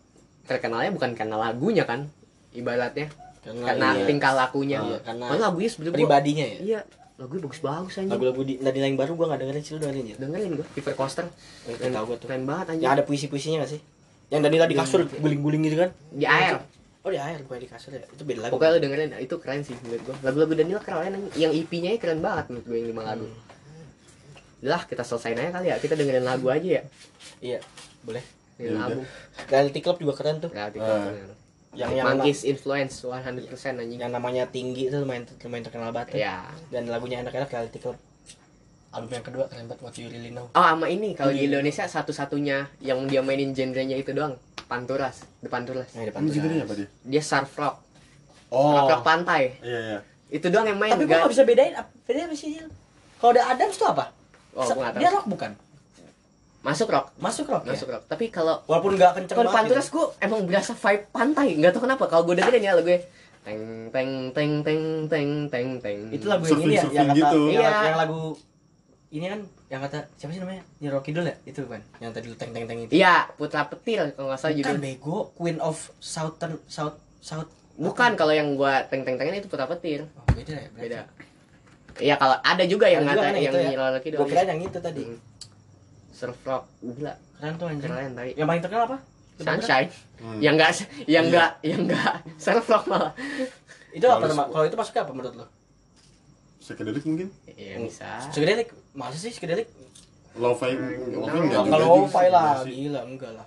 S1: terkenalnya bukan karena lagunya kan ibaratnya karena
S4: iya.
S1: tingkah lakunya
S4: Iya, karena
S1: Padahal lagunya sebenarnya gua-
S4: pribadinya ya
S1: iya lagunya bagus-bagus aja
S4: lagu-lagu di Nadine yang baru gue gak dengerin sih lu dengerin ya
S1: dengerin gue Piper Coaster
S4: Eh, itu tahu gue tuh
S1: keren banget anjing
S4: yang ada puisi-puisinya gak sih yang Danila di kasur guling-guling gitu kan
S1: di air
S4: oh di air gue di kasur ya itu beda lagu
S1: pokoknya lu dengerin itu keren sih menurut gue lagu-lagu Danila keren anjing. yang EP-nya keren banget menurut gue yang lima lagu
S4: Hmm.
S1: lah kita selesain aja kali ya kita dengerin lagu aja ya
S4: Hmm. iya boleh
S1: dengerin
S3: Ya
S4: Iya,
S3: udah.
S1: lagu
S4: Reality Club juga keren tuh
S1: Kreatif
S3: Ah.
S4: yang Iya. yang,
S1: Monkeys influence 100% anjing
S4: yang namanya tinggi itu lumayan lumayan terkenal banget tuh.
S1: ya
S4: dan lagunya enak-enak Reality Club album yang kedua keren banget What You Really Know
S1: Oh sama ini kalau
S4: Iya.
S1: di Indonesia satu-satunya yang dia mainin genrenya itu doang Panturas, The Panturas.
S4: yang Nah, depan
S3: ini
S4: tuh.
S3: judulnya apa dia
S1: Dia surf rock, rock,
S3: oh
S1: rock pantai.
S3: iya iya
S1: Itu doang yang main.
S4: tapi gua
S1: nggak-
S4: gak bisa bedain apa bedanya apa sih Jil? kalau ada Adams tuh apa
S1: Oh,
S4: Sa-
S1: gua nggak tahu.
S4: dia rock bukan
S1: Masuk rock,
S4: masuk rock
S1: masuk
S4: ya
S1: rock. Tapi kalau
S4: walaupun gak kenceng
S1: kalau
S4: banget
S1: Panturas gue emang berasa vibe pantai, nggak tau kenapa. Kalau gue dengerin ya lagu teng teng teng teng teng teng teng.
S4: gitu. itu lagu yang ini ya
S3: Surfing-surfing
S4: yang kata
S3: gitu.
S4: yang,
S1: Iya.
S4: yang lagu ini kan yang kata siapa sih namanya Nyi Rocky Dul ya itu bukan yang tadi lu teng teng teng itu
S1: Iya, Putra Petir kalau nggak salah
S4: bukan
S1: judul.
S4: bego Queen of Southern South South
S1: Bukan kalau yang gue teng teng tengin itu Putra Petir.
S4: oh, beda ya berarti.
S1: Beda. Iya kalau ada juga yang
S4: Ada juga
S1: ngata
S4: kan
S1: yang
S4: itu ya?
S1: nyilol lagi
S4: gua
S1: doang.
S4: kira yang itu tadi
S1: Hmm. Surf rock, gila
S4: keren tuh anjing
S1: keren tapi.
S4: yang paling terkenal apa
S1: Sunshine
S3: Hmm.
S1: yang enggak yang enggak yang enggak surf rock malah
S4: itu
S3: Kalau
S4: apa nama-
S3: sebuah-
S4: kalau itu masuknya apa menurut lo
S3: psychedelic mungkin
S4: Iya,
S1: ya bisa
S4: Psychedelic masa sih psychedelic
S3: lo-fi
S1: Hmm. Nah,
S3: lo-fi enggak juga
S4: kalau
S3: sih,
S4: lo-fi lah
S3: masih.
S4: gila enggak lah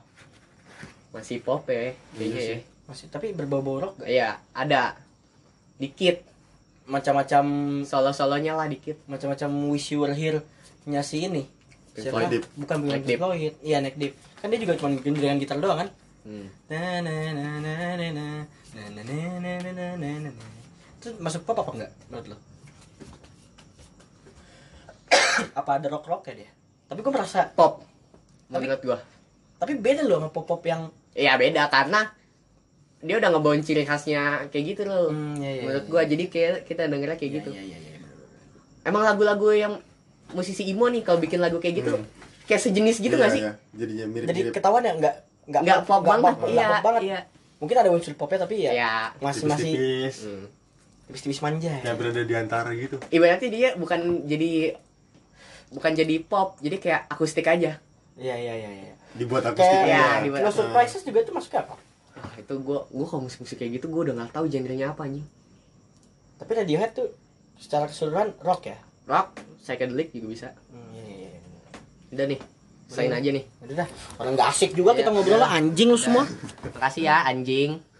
S1: masih pop ya kayaknya
S3: Iya
S1: ya.
S3: sih.
S4: masih tapi berbau-bau rock
S1: iya ada dikit
S4: macam-macam
S1: solo solonya lah dikit
S4: macam-macam wish you were here nya si ini
S1: Pink
S4: Siapa?
S3: Floyd.
S4: bukan bukan
S1: Neck
S4: Pink
S1: Deep.
S4: Floyd iya Neck Deep kan dia juga cuma bikin dengan gitar doang kan
S1: hmm.
S4: na na na na na na na na na na na na na na na. itu masuk pop apa enggak menurut lo apa ada rock rock ya dia tapi gue merasa
S1: pop menurut gua
S4: tapi beda loh sama pop pop yang
S1: iya beda karena dia udah ngebawain ciri khasnya kayak gitu loh
S4: Hmm, iya, iya,
S1: menurut
S4: iya.
S1: gua jadi kayak kita dengernya kayak gitu
S4: Iya, iya, iya, iya.
S1: emang lagu-lagu yang musisi emo nih kalau bikin lagu kayak gitu kayak sejenis gitu
S3: Iya,
S1: nggak sih
S3: iya. jadinya
S4: jadi
S3: mirip-mirip
S4: ketahuan ya enggak
S1: nggak pop banget
S4: enggak
S1: iya
S4: pop banget
S1: iya
S4: mungkin ada unsur popnya tapi ya
S1: iya
S4: masih masih
S3: tipis-tipis
S1: Hmm.
S4: tipis-tipis manja ya.
S3: yang berada di antara gitu
S1: ibaratnya dia bukan jadi bukan jadi pop jadi kayak akustik aja
S4: Iya iya iya iya.
S3: dibuat akustik
S4: Kayak
S1: Iya,
S3: ya,
S1: dibuat-
S4: Close surprises juga itu masuk apa?
S1: Wah, itu gue gue kalau musik musik kayak gitu gue udah nggak tahu genrenya apa anjing
S4: Tapi Radiohead tuh secara keseluruhan rock ya.
S1: rock psychedelic juga bisa
S4: Hmm, iya iya iya. bener.
S1: udah nih selain
S4: Boleh.
S1: aja nih
S4: Udah dah, orang nggak asik juga
S1: Iya,
S4: kita ngobrol
S1: iya.
S4: lah anjing lu semua.
S1: makasih ya anjing